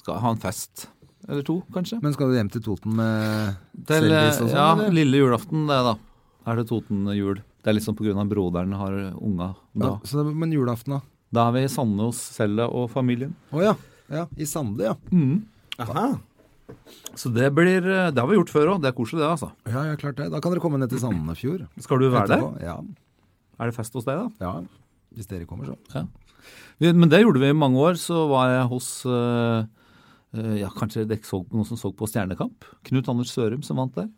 E: skal jeg ha en fest eller to, kanskje?
B: Men skal du hjem til Toten med
E: Til,
B: selvis og
E: eh,
B: sånn?
E: ja,
B: eller?
E: lille julaften, det, da. Er det Toten-jul. Det er liksom på grunn av broderen har unga da.
B: Ja, så, det- men julaften, da?
E: Da er vi i Sandnes, Selda og familien.
B: Å ja. ja. I Sande, ja.
E: Mm.
A: Aha.
E: Så det blir eh, Det har vi gjort før òg. Det er koselig, det, altså.
B: Ja, ja, klart det. Da kan dere komme ned til Sandefjord.
E: Skal du være der?
B: etterpå. Ja.
E: Er det fest hos deg, da?
B: ja. Hvis dere kommer, så.
E: Vi, men det gjorde vi i mange år. Så var jeg hos eh, eh, Ja, kanskje dere så på noen som så på Stjernekamp? Knut Anders Sørum som vant der.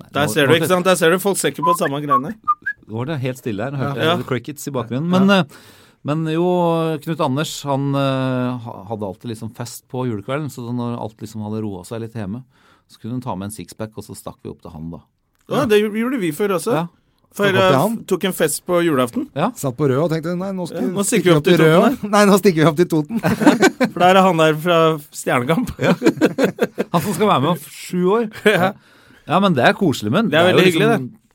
E: Nei,
A: Der ser du, ikke sant? Der ser du, Folk ser ikke på samme greiene.
E: Nå var det helt stille her. Hørte
A: Ja.
E: jeg crickets i bakgrunnen. Men eh, Men jo, Knut Anders han eh, ha- hadde alltid liksom fest på julekvelden, så når alt liksom hadde roa seg litt hjemme, så kunne hun ta med en sixpack, og så stakk vi opp til han, da.
A: Ja, det gjorde vi før også.
E: Ja.
A: For
B: Stakk opp til
A: jeg
B: han.
A: tok en fest på julaften.
B: Satt på rød og tenkte nei, nå, skal,
A: Ja, nå
B: stikker vi opp til
A: Toten
B: rød. Nei, nå stikker vi opp til Toten.
A: For der er han der fra Stjernekamp.
E: Han som skal være med om sju år. Ja. men det er liksom koselig, men
A: Det er veldig hyggelig,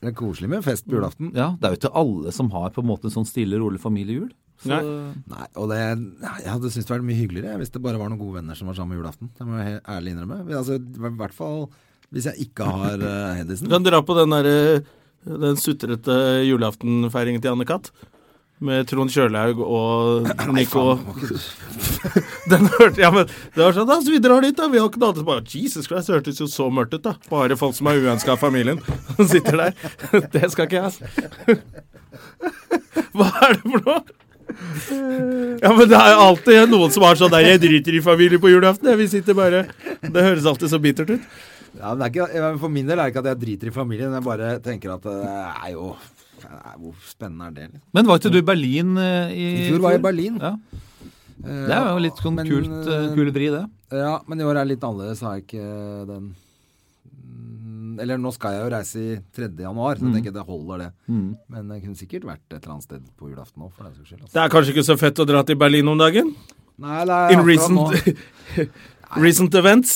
B: Det er koselig med fest på julaften.
E: Ja, det er jo ikke alle som har på en måte sånn stille, rolig familiejul. Så,
A: Nei.
B: Nei, og det, Jeg hadde syntes det var mye hyggeligere jeg, hvis det bare var noen gode venner som var sammen julaften. Det må jeg helt ærlig innrømme. Men Altså, I hvert fall hvis jeg ikke har eh,
A: Du
B: Hedisen.
A: kan dra på den der, eh, den sutrete julaftenfeiringen til Anne-Kat. Med Trond Kjørlaug og Nico. Den hørte ja, men Det var sånn da, så vi drar dit, da. Vi har ikke noe annet. Så Bare, Jesus Christ, det hørtes jo så mørkt ut, da. Bare folk som er uønska av familien, som sitter der. Det skal ikke jeg, altså. Hva er det for noe? Ja, men det er jo alltid noen som har sånn der 'Jeg driter i familie på julaften', jeg. Vi sitter bare Det høres alltid så bittert ut.
B: Ja, men det er ikke, jeg- for min del er det ikke at jeg driter i familien, jeg bare tenker at eh, det er jo nei, Hvor spennende er det? Liksom?
E: Men var ikke du i Berlin eh, i,
B: I fjor var jeg i Berlin. Eh,
E: Ja, det er jo litt sånn
B: Men,
E: kult, eh, kul vri, det.
B: Ja, men i år er det litt annerledes, har jeg ikke eh, den Mm, Eller nå skal jeg jo reise i 3. januar, så jeg tenker jeg det holder, det. Men jeg kunne sikkert vært et eller annet sted på julaften òg, for den saks skyld. Altså.
A: Det er kanskje ikke så fett å dra til Berlin om dagen?
B: Nei, det er
A: In
B: akkurat nå.
A: recent, recent events.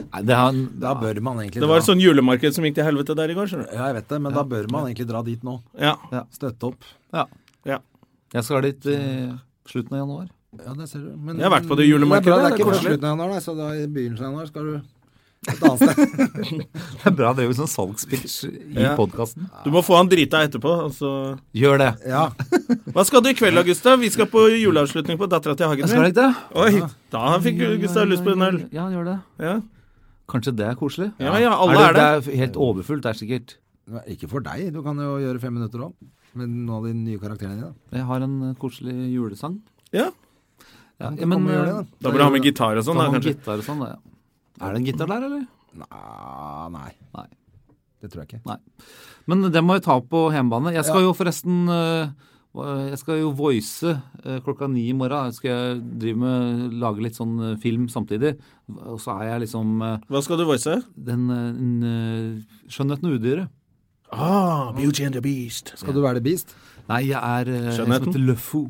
E: Nei, det er,
B: Da bør man egentlig
A: Det var
B: dra.
A: et sånn julemarked som gikk til helvete der i går, skjønner du.
B: Ja, jeg vet det, men da bør man egentlig dra dit nå.
A: Ja.
B: Støtte opp.
E: jeg skal dit i slutten av januar.
B: Ja, det ser du. Men,
A: Jeg har vært på det julemarkedet,
B: Det er, bra, det er
A: det er
B: ikke på
A: koselig.
B: slutten av januar, nei, så da i begynnelsen av januar skal du et annet sted.
E: Det er bra, det er jo sånn salgspitch i
A: Ja.
E: podkasten.
A: Du må få han drita etterpå. Altså.
E: Gjør det.
B: Ja,
A: Hva skal du i kveld, da, Gustav? Vi skal på juleavslutning på Dattera til
E: Jeg skal
A: Hagen.
E: ikke det.
A: Oi, da fikk Gustav lyst på en øl.
E: Ja, gjør det.
A: Ja.
E: Kanskje det er koselig?
A: Ja, ja, alle er
E: det.
A: det.
E: Det er helt overfullt, det er sikkert.
B: Men ikke for deg, du kan jo gjøre fem minutter òg. Med noen av de nye karakterene dine.
E: Jeg har en eh, koselig julesang.
A: Ja.
E: Ja,
B: Ja, men, gjør det,
E: eh,
B: da.
A: Da bør du ha med gitar og
E: Sånn,
A: sånn, da, kanskje.
E: gitar og sånn, da, ja. Er det en gitar der, eller?
B: Nei, Ah, nei.
E: Nei.
B: Det tror jeg ikke.
E: Men det må jeg ta på hjemmebane. Jeg skal jo forresten eh, Jeg skal jo voice eh, klokka ni i morgen. Skal jeg drive med lage litt sånn eh, film samtidig. Og så er jeg liksom eh,
A: Hva skal du voice?
E: den eh, en, eh, Skjønnheten og udyret.
A: Ah, Beauty and the Beast.
B: Skal du være The Beast?
E: Nei, jeg er eh, en som
A: Skjønnheten?
E: heter Le Fou.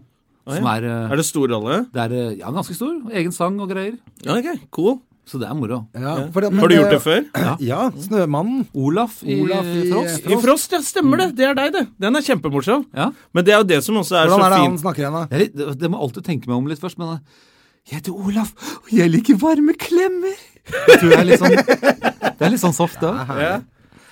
A: Å, ja.
E: Som er, eh,
A: Er det stor rolle?
E: det er eh, ja, ganske stor. Egen sang og greier.
A: Ja, ok, cool.
E: Så det er moro.
B: Ja,
A: Har du gjort det før?
B: Ja. Snømannen.
E: Olaf i,
B: Olaf i-
E: Frost.
A: I Frost, ja. Stemmer det. Det er deg, det. Den er kjempemorsom.
E: Ja.
A: Men det er jo det som også er
B: Hvordan er
A: så
B: det han
A: fint.
B: snakker igjen, da?
E: Det, er litt- det- det må jeg alltid tenke meg om litt først, men eh, jeg heter Olaf, og jeg liker varme klemmer. Jeg tror det er litt sånn, det er litt sånn soft, da.
A: Ja.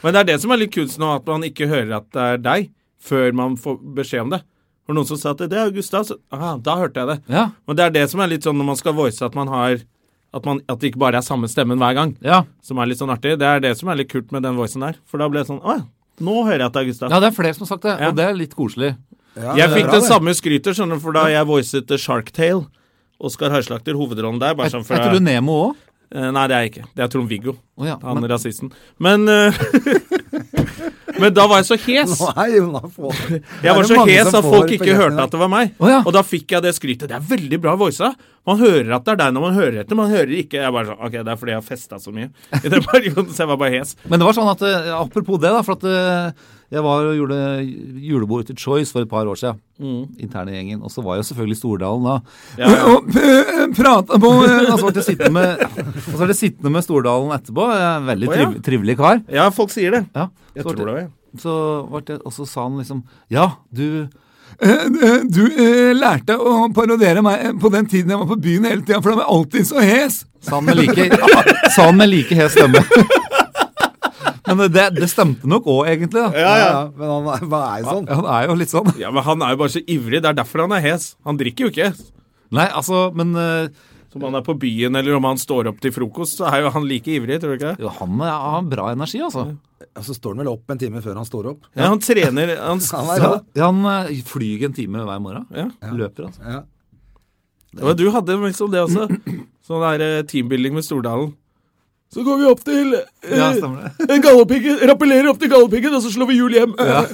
A: Men det er det som er litt kunst nå, at man ikke hører at det er deg før man får beskjed om det. For noen som sa at det er Gustav, så aha, da hørte jeg det.
E: Ja,
A: Men det er det som er litt sånn når man skal voice, at man har at, man, at det ikke bare er samme stemmen hver gang,
E: ja.
A: som er litt sånn artig. Det er det som er litt kult med den voicen der. For da ble det sånn Å ja, nå hører jeg at det er Gustav.
E: ja det er flere som har sagt det,
A: Ja.
E: og det er litt koselig.
B: Ja,
A: jeg
B: det er
A: fikk
B: bra,
A: den
B: det.
A: samme skrytet, skjønner du, for da jeg voicet The Shark Tale. Oskar Høyslakter, hovedrollen der. Bare
E: Er,
A: sånn
E: er
A: for
E: ikke du Nemo òg?
A: Eh, Nei, det er jeg ikke. Det er Trond-Viggo.
E: Å ja,
A: Han
E: men-
A: rasisten. Men eh, Men da var jeg så hes.
B: Nei, Jonna får
A: Jeg var så hes at folk ikke hørte at det var meg.
E: Å ja.
A: Og da fikk jeg det skrytet. Det er veldig bra voisa. Man hører at det er deg når man hører etter. Man hører ikke Jeg bare sånn Ok, det er fordi jeg har festa så mye. I den perioden, så jeg var bare hes.
E: Men det var sånn at, eh, apropos det, da, for at eh, jeg var og gjorde julebord til Choice for et par år siden. Interne gjengen. Og så var jeg jo selvfølgelig i Stordalen da.
A: Mm. Ja, ja.
E: Og p- prata på eh, Og så ble jeg sittende med, og så ble jeg sittende med Stordalen etterpå. eh, Veldig
A: Å, ja.
E: triv, trivelig kar.
A: Ja, folk sier det.
E: Ja.
A: Jeg
E: Så ble-
A: tror det. var jeg.
E: så var det, og så sa han liksom Ja, du eh, eh, du eh, lærte å parodiere meg eh, på den tiden jeg var på byen hele tida, for da var jeg alltid så hes! Sa han med like, ja, sa han med like hes stemme. Men det, det stemte nok òg, egentlig. da.
B: Ja, ja. Men han er- han er jo sånn.
E: Han er jo litt sånn.
A: Ja, men han er jo bare så ivrig. Det er derfor han er hes. Han drikker jo ikke.
E: Nei, altså, men eh,
A: Som han er på byen, eller om han står opp til frokost, så er jo han like ivrig, tror du ikke det?
E: jo, han er- har bra energi, altså.
B: Og så står han vel opp en time før han står opp.
A: Ja, han trener han, s-
B: Han er rå.
E: Ja, han eh, flyr en time hver morgen.
A: Ja.
E: Løper, altså.
B: Ja.
A: Ja, men du hadde liksom det også. Sånn der eh, teambuilding med Stordalen. Så går vi opp til eh,
E: Ja, stemmer
A: en galdhøpiggen, rappellerer opp til galdhøpiggen, og så slår vi hjul hjem. jeg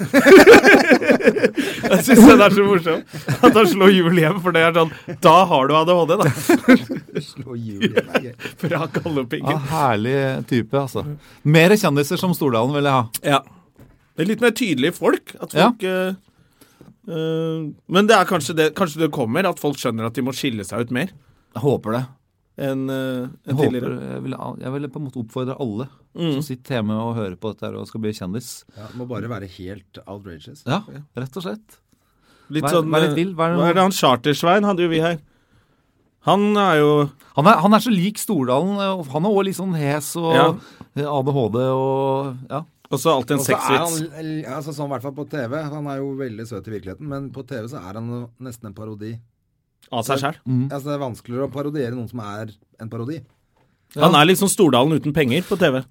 A: syns den er så morsom. At han slår hjul hjem, for det er sånn Da har du ADHD, da.
B: Slå hjulet det er gøy.
A: Fra galdhøpiggen.
E: Ja, herlig type, altså. Mer kjendiser som Stordalen vil jeg ha.
A: Ja. Det er litt mer tydelige folk. At folk eh, eh, Men det er kanskje det, kanskje det kommer, at folk skjønner at de må skille seg ut mer
E: Jeg Håper det.
A: enn eh,
E: Jeg,
A: enn
E: håper,
A: tidligere.
E: jeg, vil, jeg vil på en måte oppfordre alle
A: Mm.
E: som sitter hjemme og hører på dette her og skal bli kjendis.
B: Ja, må bare være helt outrageous.
E: Ja, rett og slett.
A: Litt
E: Vær-
A: sånn,
E: vær litt
A: eh,
E: vill, vær-
A: Hva er det han Chartersvein hadde jo vi her? Han er jo
E: Han er, han er så lik Stordalen. og Han er òg litt sånn hes og
A: Ja.
E: ADHD og ja.
A: også alltid en
B: Og så er han,
A: sexvits.
B: altså sånn i hvert fall på TV, han er jo veldig søt i virkeligheten, men på TV så er han jo nesten en parodi.
A: Av seg sjæl.
B: Altså det er vanskeligere å parodiere noen som er en parodi.
A: Han er liksom Stordalen uten penger på TV.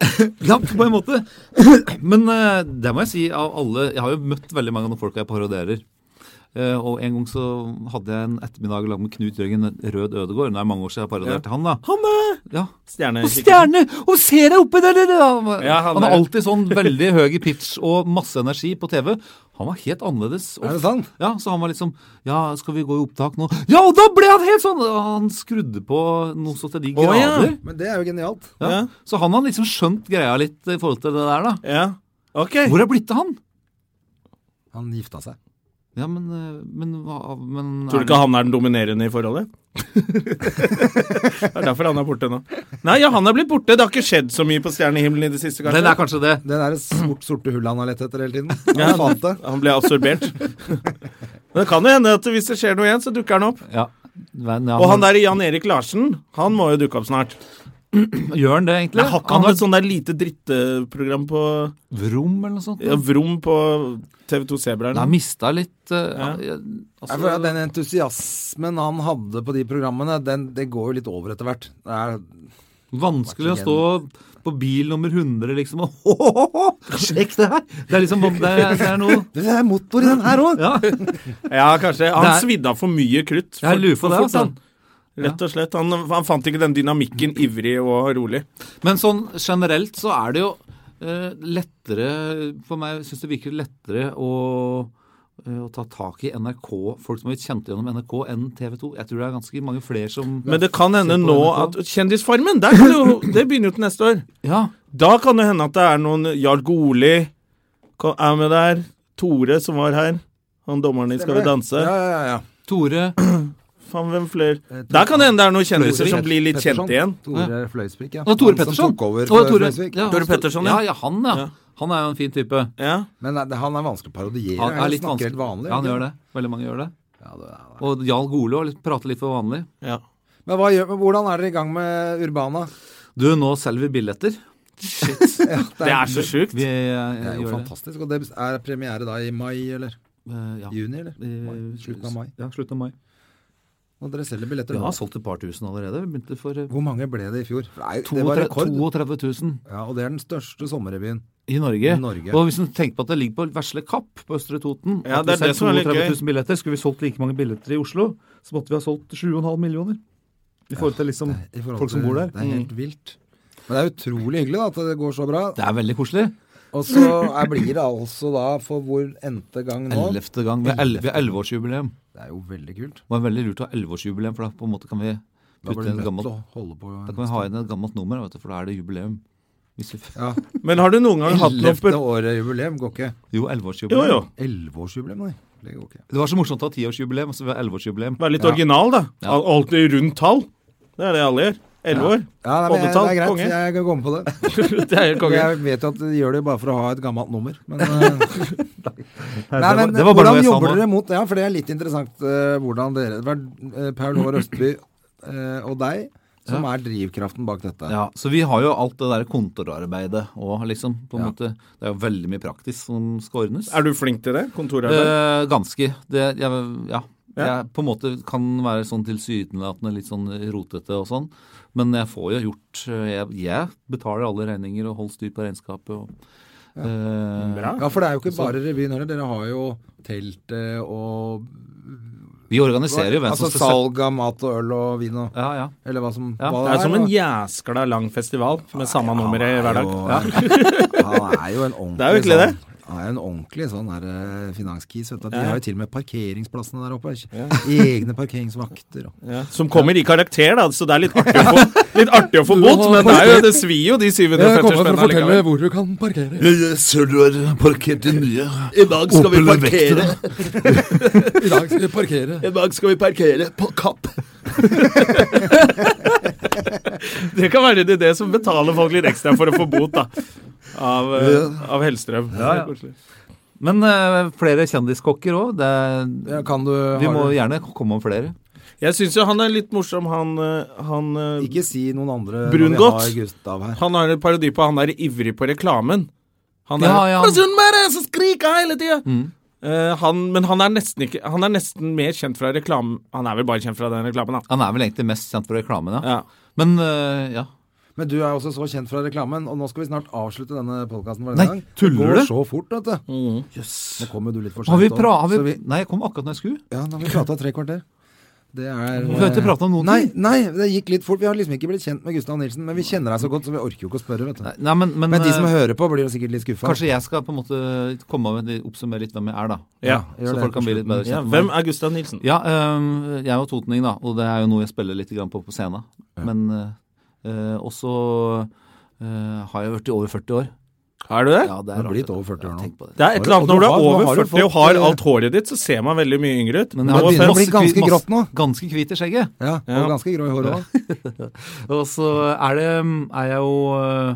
E: Ja, på en måte. Men eh, det må jeg si av alle Jeg har jo møtt veldig mange av de folka jeg parodierer. Eh, og en gang så hadde jeg en ettermiddag lag med Knut Jørgen Rød Ødegård. Nå er det mange år siden jeg parodierte han, da.
A: Hanne!
E: Ja.
A: Stjerne.
E: Og stjerne! Og ser deg oppe der! der, der. Han, var-
A: Ja, han
E: han er
A: er-
E: alltid sånn veldig høy i pitch og masse energi på TV. Han var helt annerledes. Og,
B: Er det sant?
E: Ja, Så han var liksom Ja, skal vi gå i opptak nå? Ja, og da ble han helt sånn! Og han skrudde på noe så til de
A: Å, ja.
E: grader.
B: Men det er jo genialt.
E: ja.
A: Ja.
E: Så han har liksom skjønt greia litt i forhold til det der, da.
A: Ja. Ok.
E: Hvor er blitt av han?
B: Han gifta seg.
E: Ja, men, eh, men, hva- men
A: Tror du ikke han er den dominerende i forholdet? det er derfor han er borte nå. Nei, ja, han er blitt borte. Det har ikke skjedd så mye på stjernehimmelen i det siste, kanskje.
E: Den er kanskje det.
B: Det der sort, sorte hullet han har lett etter hele tiden. Han fant det.
A: Han ble absorbert. Men det kan jo hende at hvis det skjer noe igjen, så dukker han opp.
E: Ja. Men, ja,
A: Og han
E: men-
A: der Jan Erik Larsen, han må jo dukke opp snart.
E: Gjør han det, egentlig?
A: Nei, har ikke han et sånn der lite drittprogram på
E: Vrom eller noe sånt?
A: ja, Vrom på TV2 Sebra?
E: Nei,
A: eller noe?
E: mista litt eh,
A: Ja.
E: ja, altså,
B: Jeg føler at Den entusiasmen han hadde på de programmene, den, det går jo litt over etter hvert. Det er,
E: Vanskelig å stå på bil nummer 100 liksom og ho, ho, ho, ho, Sjekk det her! Det er liksom det er, det er noe
B: det er motor i den her òg!
E: Ja,
A: Ja, kanskje. Han
E: Det er-
A: svidde av for mye krutt.
E: jeg lurer på det.
A: fort,
E: Altså.
A: han. Rett og slett. Han, han fant ikke den dynamikken ivrig og rolig.
E: Men sånn generelt så er det jo eh, lettere For meg syns det virker lettere å, eh, å ta tak i NRK, folk som har blitt kjent gjennom NRK, enn TV 2. Jeg tror det er ganske mange flere som
A: Men det kan hende
E: Se på
A: nå at
E: NRK.
A: Kjendisfarmen, der kan det jo, det begynner jo til neste år.
E: Ja.
A: Da kan det hende at det er noen Jarl Goli kom- er med der. Tore som var her. Han dommeren i Skal vi danse.
B: Ja, ja, ja.
E: Tore
A: Faen, hvem fler?
E: Eh,
A: Der kan det hende det er noen kjendiser som blir litt kjente igjen.
B: Tore Fløysvik, ja.
E: Og Tore
B: han
E: Petterson.
B: Som tok over
E: Å,
B: for
E: Tore,
B: Fløysvik.
E: ja,
A: Tore Petterson, ja.
E: ja. Ja, han, ja.
A: Ja.
E: Han er jo en fin type.
A: Ja.
B: Men det- han er vanskelig å parodiere.
E: Han er litt
B: snakker
E: vanskelig.
B: helt vanlig.
E: ja, han
B: ikke?
E: gjør det. Veldig mange gjør det.
B: Ja, det er det.
E: Og Jarl Gole også, litt- prater litt for vanlig.
A: ja.
B: Men hva gjør, men hvordan er dere i gang med Urbana?
E: Du, nå selger vi billetter.
A: Det er så sjukt.
E: Vi
B: Det
E: eh,
B: er jo
E: gjør det.
B: fantastisk. Og det er premiere da i mai, eller
E: Eh, ja.
B: juni, eller?
E: Eh,
B: Slutten av mai.
E: Ja, slutten av mai.
B: Og dere selger billetter
E: Vi
B: nå.
E: har solgt et par tusen allerede. Vi begynte for eh,
B: Hvor mange ble det i fjor? For det er- det var
E: 32
B: rekord.
E: 32 000
B: Ja, og det er den største sommerrevyen.
E: i Norge.
B: I Norge.
E: Og hvis du tenker på at det ligger på Vesle Kapp på Østre Toten
A: Ja,
E: at
A: det er
E: vi
A: det
E: selger
A: som er litt
E: 32
A: gøy.
E: 000 billetter, Skulle vi solgt like mange billetter i Oslo, så måtte vi ha solgt 7,5 millioner. I forhold til liksom
B: I forhold
E: folk som
B: til-
E: bor der. Mm.
B: Det er helt vilt. Men det er utrolig hyggelig da, at det går så bra.
E: Det er veldig koselig.
B: Og så er, blir det altså da for hvor n-te gang nå.
E: Ellevte gang. Vi har el- vi har elleveårsjubileum.
B: Det er jo veldig kult.
E: Det var veldig lurt å ha elleveårsjubileum, for da på en måte kan vi
B: Da
E: putte
B: blir du
E: inn et
B: nødt til
E: gammelt,
B: å holde på.
E: da kan vi ha inn et gammelt nummer, vet du, for da er det jubileum. Hvis vi,
B: Ja,
A: Men har du noen gang hatt noe
B: Ellevte
A: per...
B: året jubileum går ikke.
E: jo,
A: Jo,
E: elleveårsjubileum.
A: jo.
B: Elleveårsjubileum, nei. Det går ikke.
E: Det var så morsomt å ha tiårsjubileum, og så var det elleveårsjubium.
A: Vær litt original, da. Al- Alltid rundt tall. Det er det alle gjør. Elleve år.
B: Ja, nei, men, det
A: Oddetall.
B: er greit.
A: Konge.
B: Jeg kan komme på det.
A: Det er helt konge.
B: Jeg vet jo at de gjør det bare for å ha et gammelt nummer, men, eh, Nei,
E: var-
B: men
E: det var bare noe
B: Hvordan
E: jeg sa
B: jobber
E: nå.
B: dere mot Ja, for det er litt interessant eh, hvordan dere det var, eh, Paul Håvard Østby eh, og deg som er drivkraften bak dette.
E: Ja, så vi har jo alt det der kontorarbeidet og liksom, på en måte, det er jo veldig mye praktisk som skal ordnes.
A: Er du flink til det? Kontorarbeid?
E: Eh, ganske. Det, jeg, ja.
A: Ja.
E: Jeg på en måte kan være sånn tilsynelatende litt sånn rotete og sånn, men jeg får jo gjort eh, Jeg, jeg betaler alle regninger og holder styr på regnskapet og eh,
A: Bra.
B: Ja, for det er jo ikke bare revyen heller. Dere har jo teltet og
E: Vi organiserer jo hvem som
B: altså,
E: skal
B: Salg av mat og øl og vin og
E: Ja, ja.
B: Eller hva som
E: Ja,
B: hva
A: Det er som en
B: da.
A: jæskla lang festival med samme nummer i hver dag. Ja.
B: Han er jo en ordentlig
A: Det er jo virkelig det.
B: sånn- Han er jo en ordentlig sånn der, eh, finanskis. Vet du. De har jo til og med parkeringsplassene der oppe. Egne parkeringsvakter. og-
A: Som kommer i karakter, da, så det er litt artig å få, litt artig å få bot, men det, er jo, det svir jo de
G: Jeg kommer for
A: 750
G: å
A: spennene
G: fortelle
A: likevel.
G: hvor du kan parkere.
D: Sør du har parkert din nye I dag skal vi parkere
G: I dag skal vi parkere.
D: I dag skal vi parkere på Kapp
A: Det kan være det, det som betaler folk litt ekstra for å få bot, da. Av, eh, av Hellstrøm.
E: Ja, ja. Men eh, flere kjendiskokker òg.
B: Ja, kan du,
E: Vi
B: har
E: må
B: du
E: gjerne komme om flere.
A: Jeg syns jo han er litt morsom, han eh, Han, eh,
B: Ikke si noen andre
A: Brungot.
B: når vi har Gustav her.
A: han har et parodi på han er ivrig på reklamen. Han er
E: Ja, ja,
A: «Hva
E: han-
A: synd med det, så skriker jeg hele tida! han, men han er, nesten ikke, han er nesten mer kjent fra reklamen Han er vel bare kjent fra den reklamen, da.
E: Han er vel egentlig mest kjent for reklamen, ja.
A: Ja.
E: Men eh, ja.
B: Men du er jo også så kjent fra reklamen, og nå skal vi snart avslutte denne podkasten for
E: Nei,
B: denne gang.
E: tuller
B: det går
E: du? Mm.
B: så fort, vet du. Nå kom jo du litt for sent.
E: Har vi
B: også,
E: pra... Har
B: så
E: vi... Nei, jeg kom akkurat når jeg skulle.
B: Ja, nå har vi prata tre kvarter. Det er eh,
E: Hvorfor har vi ikke pratet om noen
B: nei,
E: ting?
B: Nei, det gikk litt fort. Vi har liksom ikke blitt kjent med Gustav Nilsen, men vi kjenner deg så godt, så vi orker jo ikke å spørre, vet du.
E: Nei, Nei, men, men,
B: Men de som
E: eh,
B: hører på, blir jo sikkert litt skuffa.
E: Kanskje jeg skal på en måte komme med, oppsummere litt hvem jeg er, da.
A: Ja.
B: gjør
E: Så
B: det
E: folk
B: på
E: kan bli litt bedre
A: Ja,
E: kjent med
A: hvem
E: meg.
A: er Gustav Nilsen?
E: Ja, øhm, jeg er jo totning, da, og det er jo noe jeg spiller litt grann på på scenen. Men øh, øh, også øh, har jeg vært i over 40 år.
A: Er du det?
E: Ja, det
B: Du
E: er
B: har blitt
E: rart.
B: over 40 år
E: Ja,
B: nå.
E: tenk på det.
A: Det er et eller annet
B: Og du
A: når du er
B: har- nå har
A: over
B: du
A: 40 og
B: fått,
A: har
B: eh,
A: alt håret ditt, så ser man veldig mye yngre ut.
E: Men
A: Nå
E: jeg har
B: det
A: er
B: begynner å
A: fem-
B: bli ganske
E: masse-
B: grått nå.
E: Ganske hvit i skjegget.
B: Ja, og
A: Ja.
B: ganske grå i håret òg.
E: Og så er det Er jeg jo øh,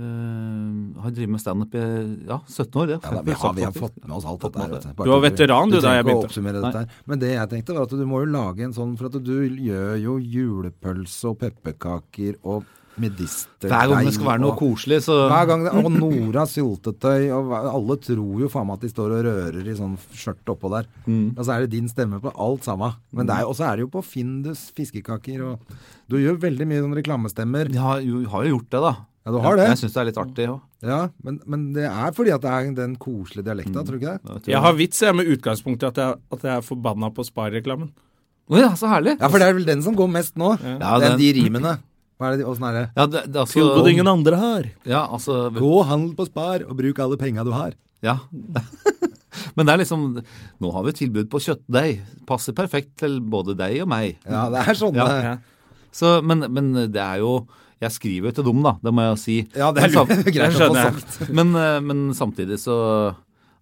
E: øh, Har drevet med standup i ja, 17 år, det.
B: Ja, da, vi, har- vi har
E: 40.
B: fått med oss alt dette her.
E: med
B: vet
E: det.
B: Bare
A: Du var
B: til-
A: veteran, du, da jeg
B: trenger ikke å
A: begynte.
B: oppsummere dette her. Men det jeg tenkte, var at du må jo lage en sånn For at du gjør jo julepølse og pepperkaker og medisterdeig
E: Hver gang det skal være noe
B: og-
E: koselig, så
B: Hver gang det, og Nora syltetøy, og hva- alle tror jo faen meg at de står og rører i sånn skjørt oppå der.
A: Mm.
B: Og så er det din stemme på alt sammen. Men det er, jo- og så er det jo på Findus fiskekaker, og du gjør veldig mye sånn reklamestemmer.
E: Jeg har jo, har jo gjort det, da.
B: Ja, du har det.
E: Jeg syns det er litt artig òg.
B: Ja, men, men det er fordi at det er den koselige dialekta, tror du ikke det?
A: Jeg har vits jeg med utgangspunkt i at jeg, at jeg er forbanna på Spar-reklamen.
E: Å ja, så herlig!
B: Ja, for det er vel den som går mest nå.
E: Ja,
B: den,
E: den-
B: de rimene. Hva er det, de- åssen er det?
E: Ja, det, det er altså,
A: andre har.
E: ja, altså
B: Gå handel på Spar og bruk alle penga du har.
E: Ja. Men det er liksom Nå har vi et tilbud på kjøttdeig. Passer perfekt til både deg og meg.
B: Ja, det er sånn
E: Ja,
B: det-
A: ja.
E: Så, men, men det er jo Jeg skriver jo til dem, da. Det må jeg jo si.
B: Ja, det er
E: Men sam-
B: greit å få
A: skjønner jeg.
B: sagt.
E: Men, eh, men samtidig så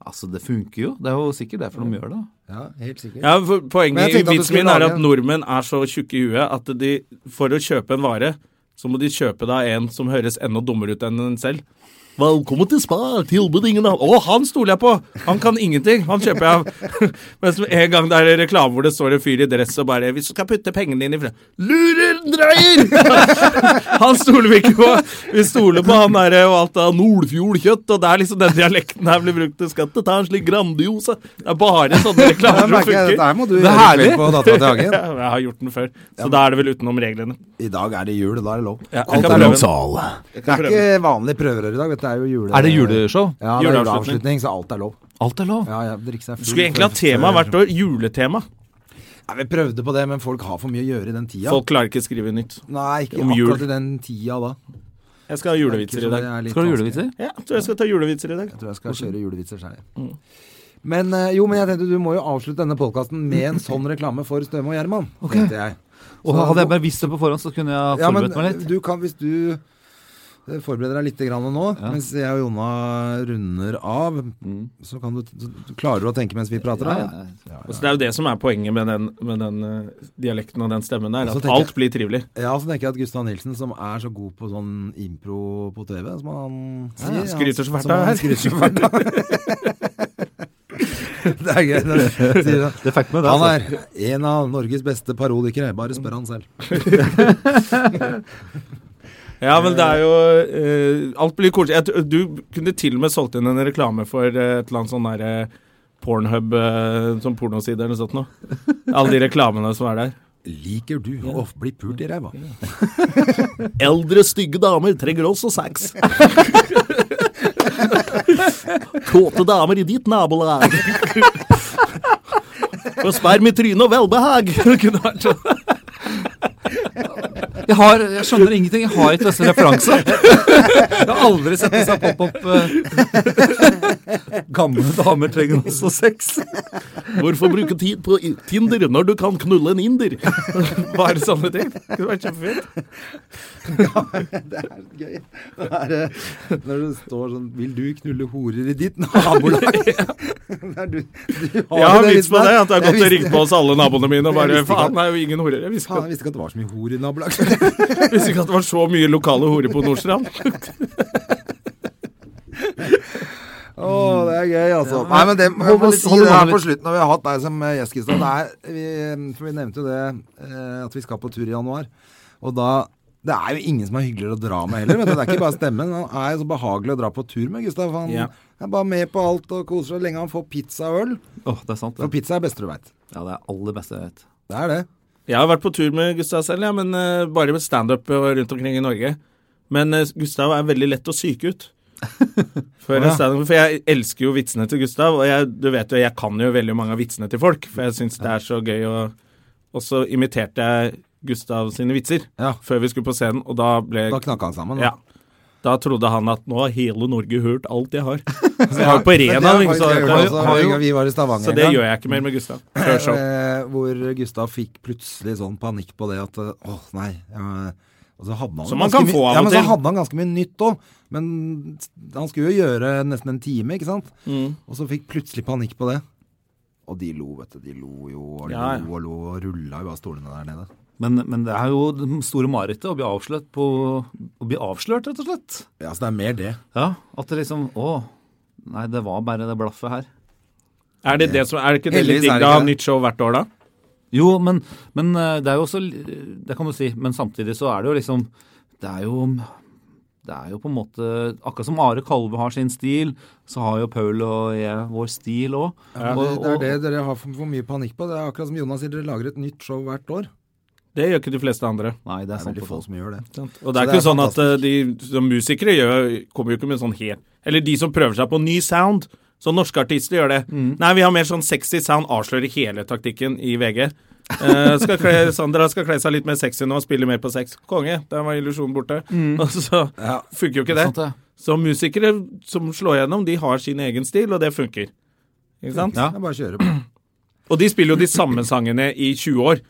E: Altså, det funker jo. Det er jo sikkert derfor de gjør det.
B: Ja, helt sikkert.
A: Ja,
B: Men
A: for
B: jeg
A: Poenget
B: tenkte
A: i
B: at du
A: vitsen
B: skulle
A: min er
B: lage
A: at
B: en-
A: nordmenn er så tjukke i huet at de, for å kjøpe en vare, så må de kjøpe det av en som høres enda dummere ut enn en selv. Velkommen til Spar, tilbud ingen av Å, han stoler jeg på! Han kan ingenting, han kjøper jeg av. Mens med en gang det er reklame hvor det står en fyr i dress og bare 'Hvis du skal putte pengene dine i fred Lurer, dreier! Han stoler vi ikke på. Vi stoler på han derre og alt av Nordfjordkjøtt, og det er liksom den dialekten her blir brukt til skatt. Det er en slik Grandiosa. Det er bare sånne
B: Ja,
A: reklamer som
B: merker jeg,
A: funker.
B: dette her må du gjøre
E: Det er
B: i
E: herlig.
B: kveld på Dattera til Hagen.
A: Ja, Jeg har gjort den før, så da er det vel utenom reglene.
B: I dag er det jul, da er det lov.
A: Ja, jeg
B: Alt
A: kan
B: er lov.
A: prøve.
B: Det er ikke vanlige prøverør i dag, vet du. Det er jo jule...
E: Er det juleshow?
B: Ja, det er
A: Juleavslutning.
B: juleavslutning, så alt er lov.
E: Alt er lov.
B: Ja, ja, drikke seg full.
A: Skulle egentlig hatt
B: før-
A: tema
B: før-
A: hvert år. Juletema.
B: Ja, vi prøvde på det, men folk har for mye å gjøre i den tida.
A: Folk klarer ikke skrive nytt.
B: Nei, ikke
A: Om jul.
B: akkurat i den tida da.
A: Jeg skal ha julevitser i dag.
E: Skal du ha julevitser?
A: Ja, jeg tror jeg skal ta julevitser i dag.
B: Jeg tror jeg skal kjøre julevitser sjøl, jeg.
E: Mm.
B: Men eh, jo, men jeg tenkte du må jo avslutte denne podkasten med en sånn reklame for Støme og Gjerman.
E: Ok.
B: tenkte jeg.
E: Og
B: Så-
E: Hadde jeg bare visst det på forhånd, så kunne jeg ha
B: Ja, men
E: forberedt meg litt.
B: du kan, hvis du eh, forbereder deg litt grann nå, mens jeg og Jonna runder av, så kan du, så du klarer du å tenke mens vi prater?
E: Mm. Ja,
B: da?
E: ja, ja.
A: Altså, det er jo det som er poenget med den, med den eh, dialekten og den stemmen der.
B: Så
A: At
B: tenker
A: alt
B: jeg-
A: blir trivelig.
B: Ja, så tenker jeg at Gustav Nilsen, som er så god på sånn impro på TV, som han sier
A: han skryter så fælt
B: som
A: av
B: han
A: her.
B: skryter så fælt av. det er gøy. når du sier det.
E: Det fikk meg det.
B: Han
E: altså.
B: er en av Norges beste parodikere. Bare spør han selv.
A: Ja, men det er jo eh, Alt blir koselig. Jeg tror- Du kunne til og med solgt inn en reklame for eh, et eller annet sånn derre Pornhub, eh, sånn pornoside eller noe sånt noe. Alle de reklamene som er der.
B: Liker du å bli pult i ræva?
A: Eldre, stygge damer trenger også sex. Kåte damer i ditt nabolag.
H: For sperm i trynet og velbehag. Det kunne vært sånn.
E: Jeg, har, jeg skjønner ingenting. Jeg har ikke disse referanser. Jeg har aldri sett disse pop-opp eh, Gamle damer trenger også sex.
H: Hvorfor bruke tid på i- Tinder når du kan knulle en inder?
A: Bare sånne ting. Det kunne vært kjempefint.
B: det er gøy. Det er, eh, når det står sånn 'Vil du knulle horer i ditt nabolag?' Det er du, du har
A: Jeg har
B: jo
A: vits på
B: vitsen
A: det.
B: her.
A: At jeg har
B: Jeg
A: gått og ringt
B: visste-
A: på oss alle naboene mine og
B: Jeg
A: bare
B: visste ikke
A: Faen,
B: at-
A: det er jo ingen horer. Jeg visste
B: Faen, jeg
A: ikke at-
B: visste ikke at det var så mye hor i nabolaget.
A: jeg visste ikke at det var så mye lokale horer på Nordstrand.
B: Å, det er gøy, altså.
A: Ja,
B: Nei, men det, jeg må
A: hold-
B: si
A: hold
B: det her
A: vanlig.
B: på slutten når vi har hatt deg som eh, gjest, Kristian. Det er- vi- For vi nevnte jo det eh, at vi skal på tur i januar. Og da Det er jo ingen som er hyggeligere å dra med heller. Vet du. Det er ikke bare stemmen. Han er jo så behagelig å dra på tur med, Gustav. Han
E: Ja.
B: er bare med på alt og koser seg lenge han får pizza og øl.
E: Åh, det er sant.
B: For pizza er det beste du veit.
E: Ja, det er aller beste jeg vet.
B: Det er det.
A: Jeg har vært på tur med Gustav selv, ja, men eh, bare med standup eh, rundt omkring i Norge. Men eh, Gustav er veldig lett å syke ut. For,
H: Å, ja.
A: standup- for jeg elsker jo vitsene til Gustav, og jeg, du vet jo, jeg kan jo veldig mange av vitsene til folk, for jeg syns det er så gøy å Og så imiterte jeg Gustav sine vitser før vi skulle på scenen, og da ble
B: Da knakk han sammen, da.
A: Ja. Da trodde han at nå har hele Norge hørt alt jeg har. Så jeg har jo på
B: Ja, men det
A: Rena.
B: har
A: ikke
B: faktisk altså. jeg gjort
A: sant? Jeg har jo-
B: også,
A: har jo-
B: en gang vi var i Stavanger
A: Så
B: en
A: det
B: gang.
A: gjør jeg ikke mer med Gustav. Før show.
B: Eh, Hvor Gustav fikk plutselig sånn panikk på det at eh, åh, nei. eh, Og så hadde han
A: Som man
B: ganske
A: kan
B: mye-
A: få av
B: ja,
A: og
B: men
A: til.
B: Så hadde han ganske mye nytt òg. Men han skulle jo gjøre nesten en time, ikke sant.
A: Mm.
B: Og så fikk plutselig panikk på det. Og de lo, vet du. De lo jo og lo
E: Ja, ja.
B: og lo og rulla jo av stolene der nede.
E: Men, men det er jo det store marerittet å bli avslørt på Å bli avslørt, rett og slett.
B: Ja, så det er mer det.
E: Ja, At det liksom Å, nei, det var bare det blaffet her.
A: Er det, det, som, er det ikke det litt
E: Heldigvis er
A: digg da?
E: det ikke
A: å ha
E: det.
A: Nytt show hvert år, da?
E: Jo, men, men eh, det er jo også li- Det kan du si. Men samtidig så er det jo liksom Det er jo det er jo på en måte Akkurat som Are Kalve har sin stil, så har jo Paul og jeg vår stil òg.
B: Ja, men det, det er det dere har for, for mye panikk på. Det er akkurat som Jonas sier, dere lager et nytt show hvert år.
A: Det gjør ikke de fleste andre.
E: Nei,
B: Det er veldig få som gjør det.
A: Og det er
B: Så
A: ikke sånn at eh, de som musikere gjør, kommer jo ikke med sånn helt Eller de som prøver seg på ny sound. Så norske artister gjør det. Nei, vi har mer sånn sexy sound, avslører hele taktikken i VG. Eh, skal kle, Sandra skal kle seg litt mer sexy nå og spille mer på sex. Konge, der var illusjonen borte.
E: Mm.
A: Og så
B: Ja.
A: funker jo ikke det.
E: Sant det.
A: Så musikere som slår gjennom, de har sin egen stil, og det funker. Ikke sant?
B: Det er bare å kjøre på.
A: Og de spiller jo de samme sangene i 20 år.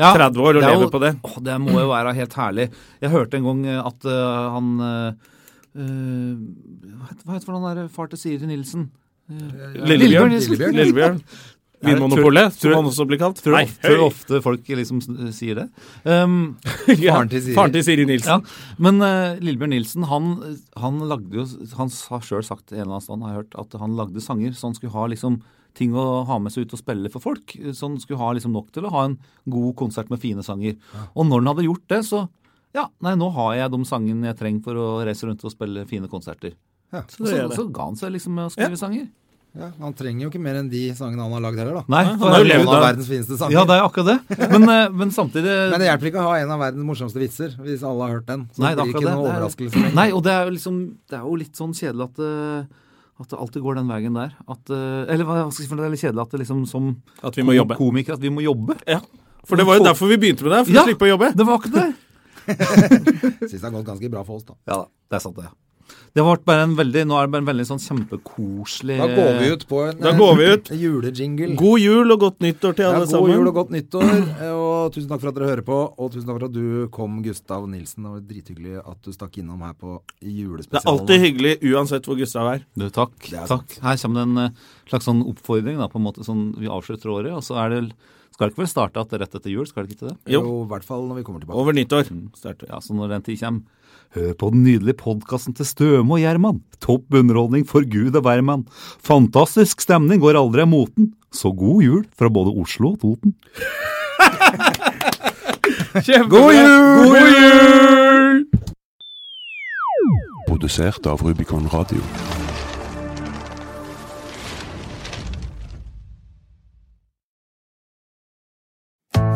E: Ja,
A: 30 år og
E: det er
A: lever
E: jo-
A: på det.
E: Åh, det må jo være helt herlig. Jeg hørte en gang eh, at eh, han eh, eh, Hva heter- hva heter han der far til Siri Nilsen? Eh,
A: Lillebjørn.
E: Nilsen.
A: Lillebjørn. Lillebjørn.
E: Er det-
A: Vinmonopolet, som han også blir kalt.
E: Tror
A: Nei,
E: du ofte,
A: høy.
E: ofte folk liksom s- sier det. Um,
A: Ja, Faren til Siri. faren til Siri Nilsen.
E: Ja, men eh, Lillebjørn Nilsen, han, han lagde jo Han har sjøl sagt en eller annen stand, har jeg hørt, at han lagde sanger så han skulle ha liksom ting å ha med seg ut og spille for folk. Så han skulle ha liksom nok til å ha en god konsert med fine sanger. Og når han hadde gjort det, så Ja, nei, nå har jeg de sangene jeg trenger for å reise rundt og spille fine konserter.
B: Ja.
E: Så, så, så ga han seg liksom med å skrive sanger.
B: Ja, Han trenger jo ikke mer enn de sangene han har lagd heller, da.
E: Nei,
B: han har jo levd av verdens fineste sanger.
E: Ja, det er akkurat det. Men, eh, men samtidig
B: Men det hjelper ikke å ha en av verdens morsomste vitser hvis alle har hørt den. Så
E: Nei,
B: det blir
E: er
B: ikke
E: akkurat
B: noen
E: det.
B: overraskelse.
E: Det er- Nei, og det er jo liksom Det er jo litt sånn kjedelig at det, at det alltid går den veien der. At, eh, eller hva skal jeg si for noe, det er litt kjedelig at det liksom som
A: At vi må jobbe.
E: komiker at vi må jobbe.
A: Ja. For det var jo derfor vi begynte med det, for å slippe å jobbe.
E: Det var ikke det.
B: Syns det har gått ganske bra for oss, da.
A: Eh,
E: Ja da, det er sant det. Det har vært bare en veldig Nå er det bare en veldig sånn kjempekoselig
B: Da går vi ut på en
E: Da går vi ut.
B: eh, julejingle.
A: God jul og godt nyttår til
B: Ja,
A: alle
B: god
A: sammen.
B: jul og godt nyttår. eh, Og tusen takk for at dere hører på, og tusen takk for at du kom, Gustav Nilsen. Det var drithyggelig at du stakk innom her på julespesialen.
A: Det er alltid hyggelig uansett hvor Gustav er.
E: Du, takk. takk. Her kommer det en eh, slags sånn oppfordring, da, på en måte sånn vi avslutter året. Og så er det Skal det ikke vel starte at det er rett etter jul? Skal det ikke til det?
A: Jo.
B: Jo, i hvert fall når vi kommer tilbake.
A: Over nyttår.
B: Mm.
E: Ja, så når den tid kommer. Hør på den nydelige podkasten til Støme og Gjerman. Topp underholdning for gud og hvermann. Fantastisk stemning går aldri av moten. Så god jul fra både Oslo og Toten.
A: God jul! God jul!
I: Produsert av Rubicon Radio.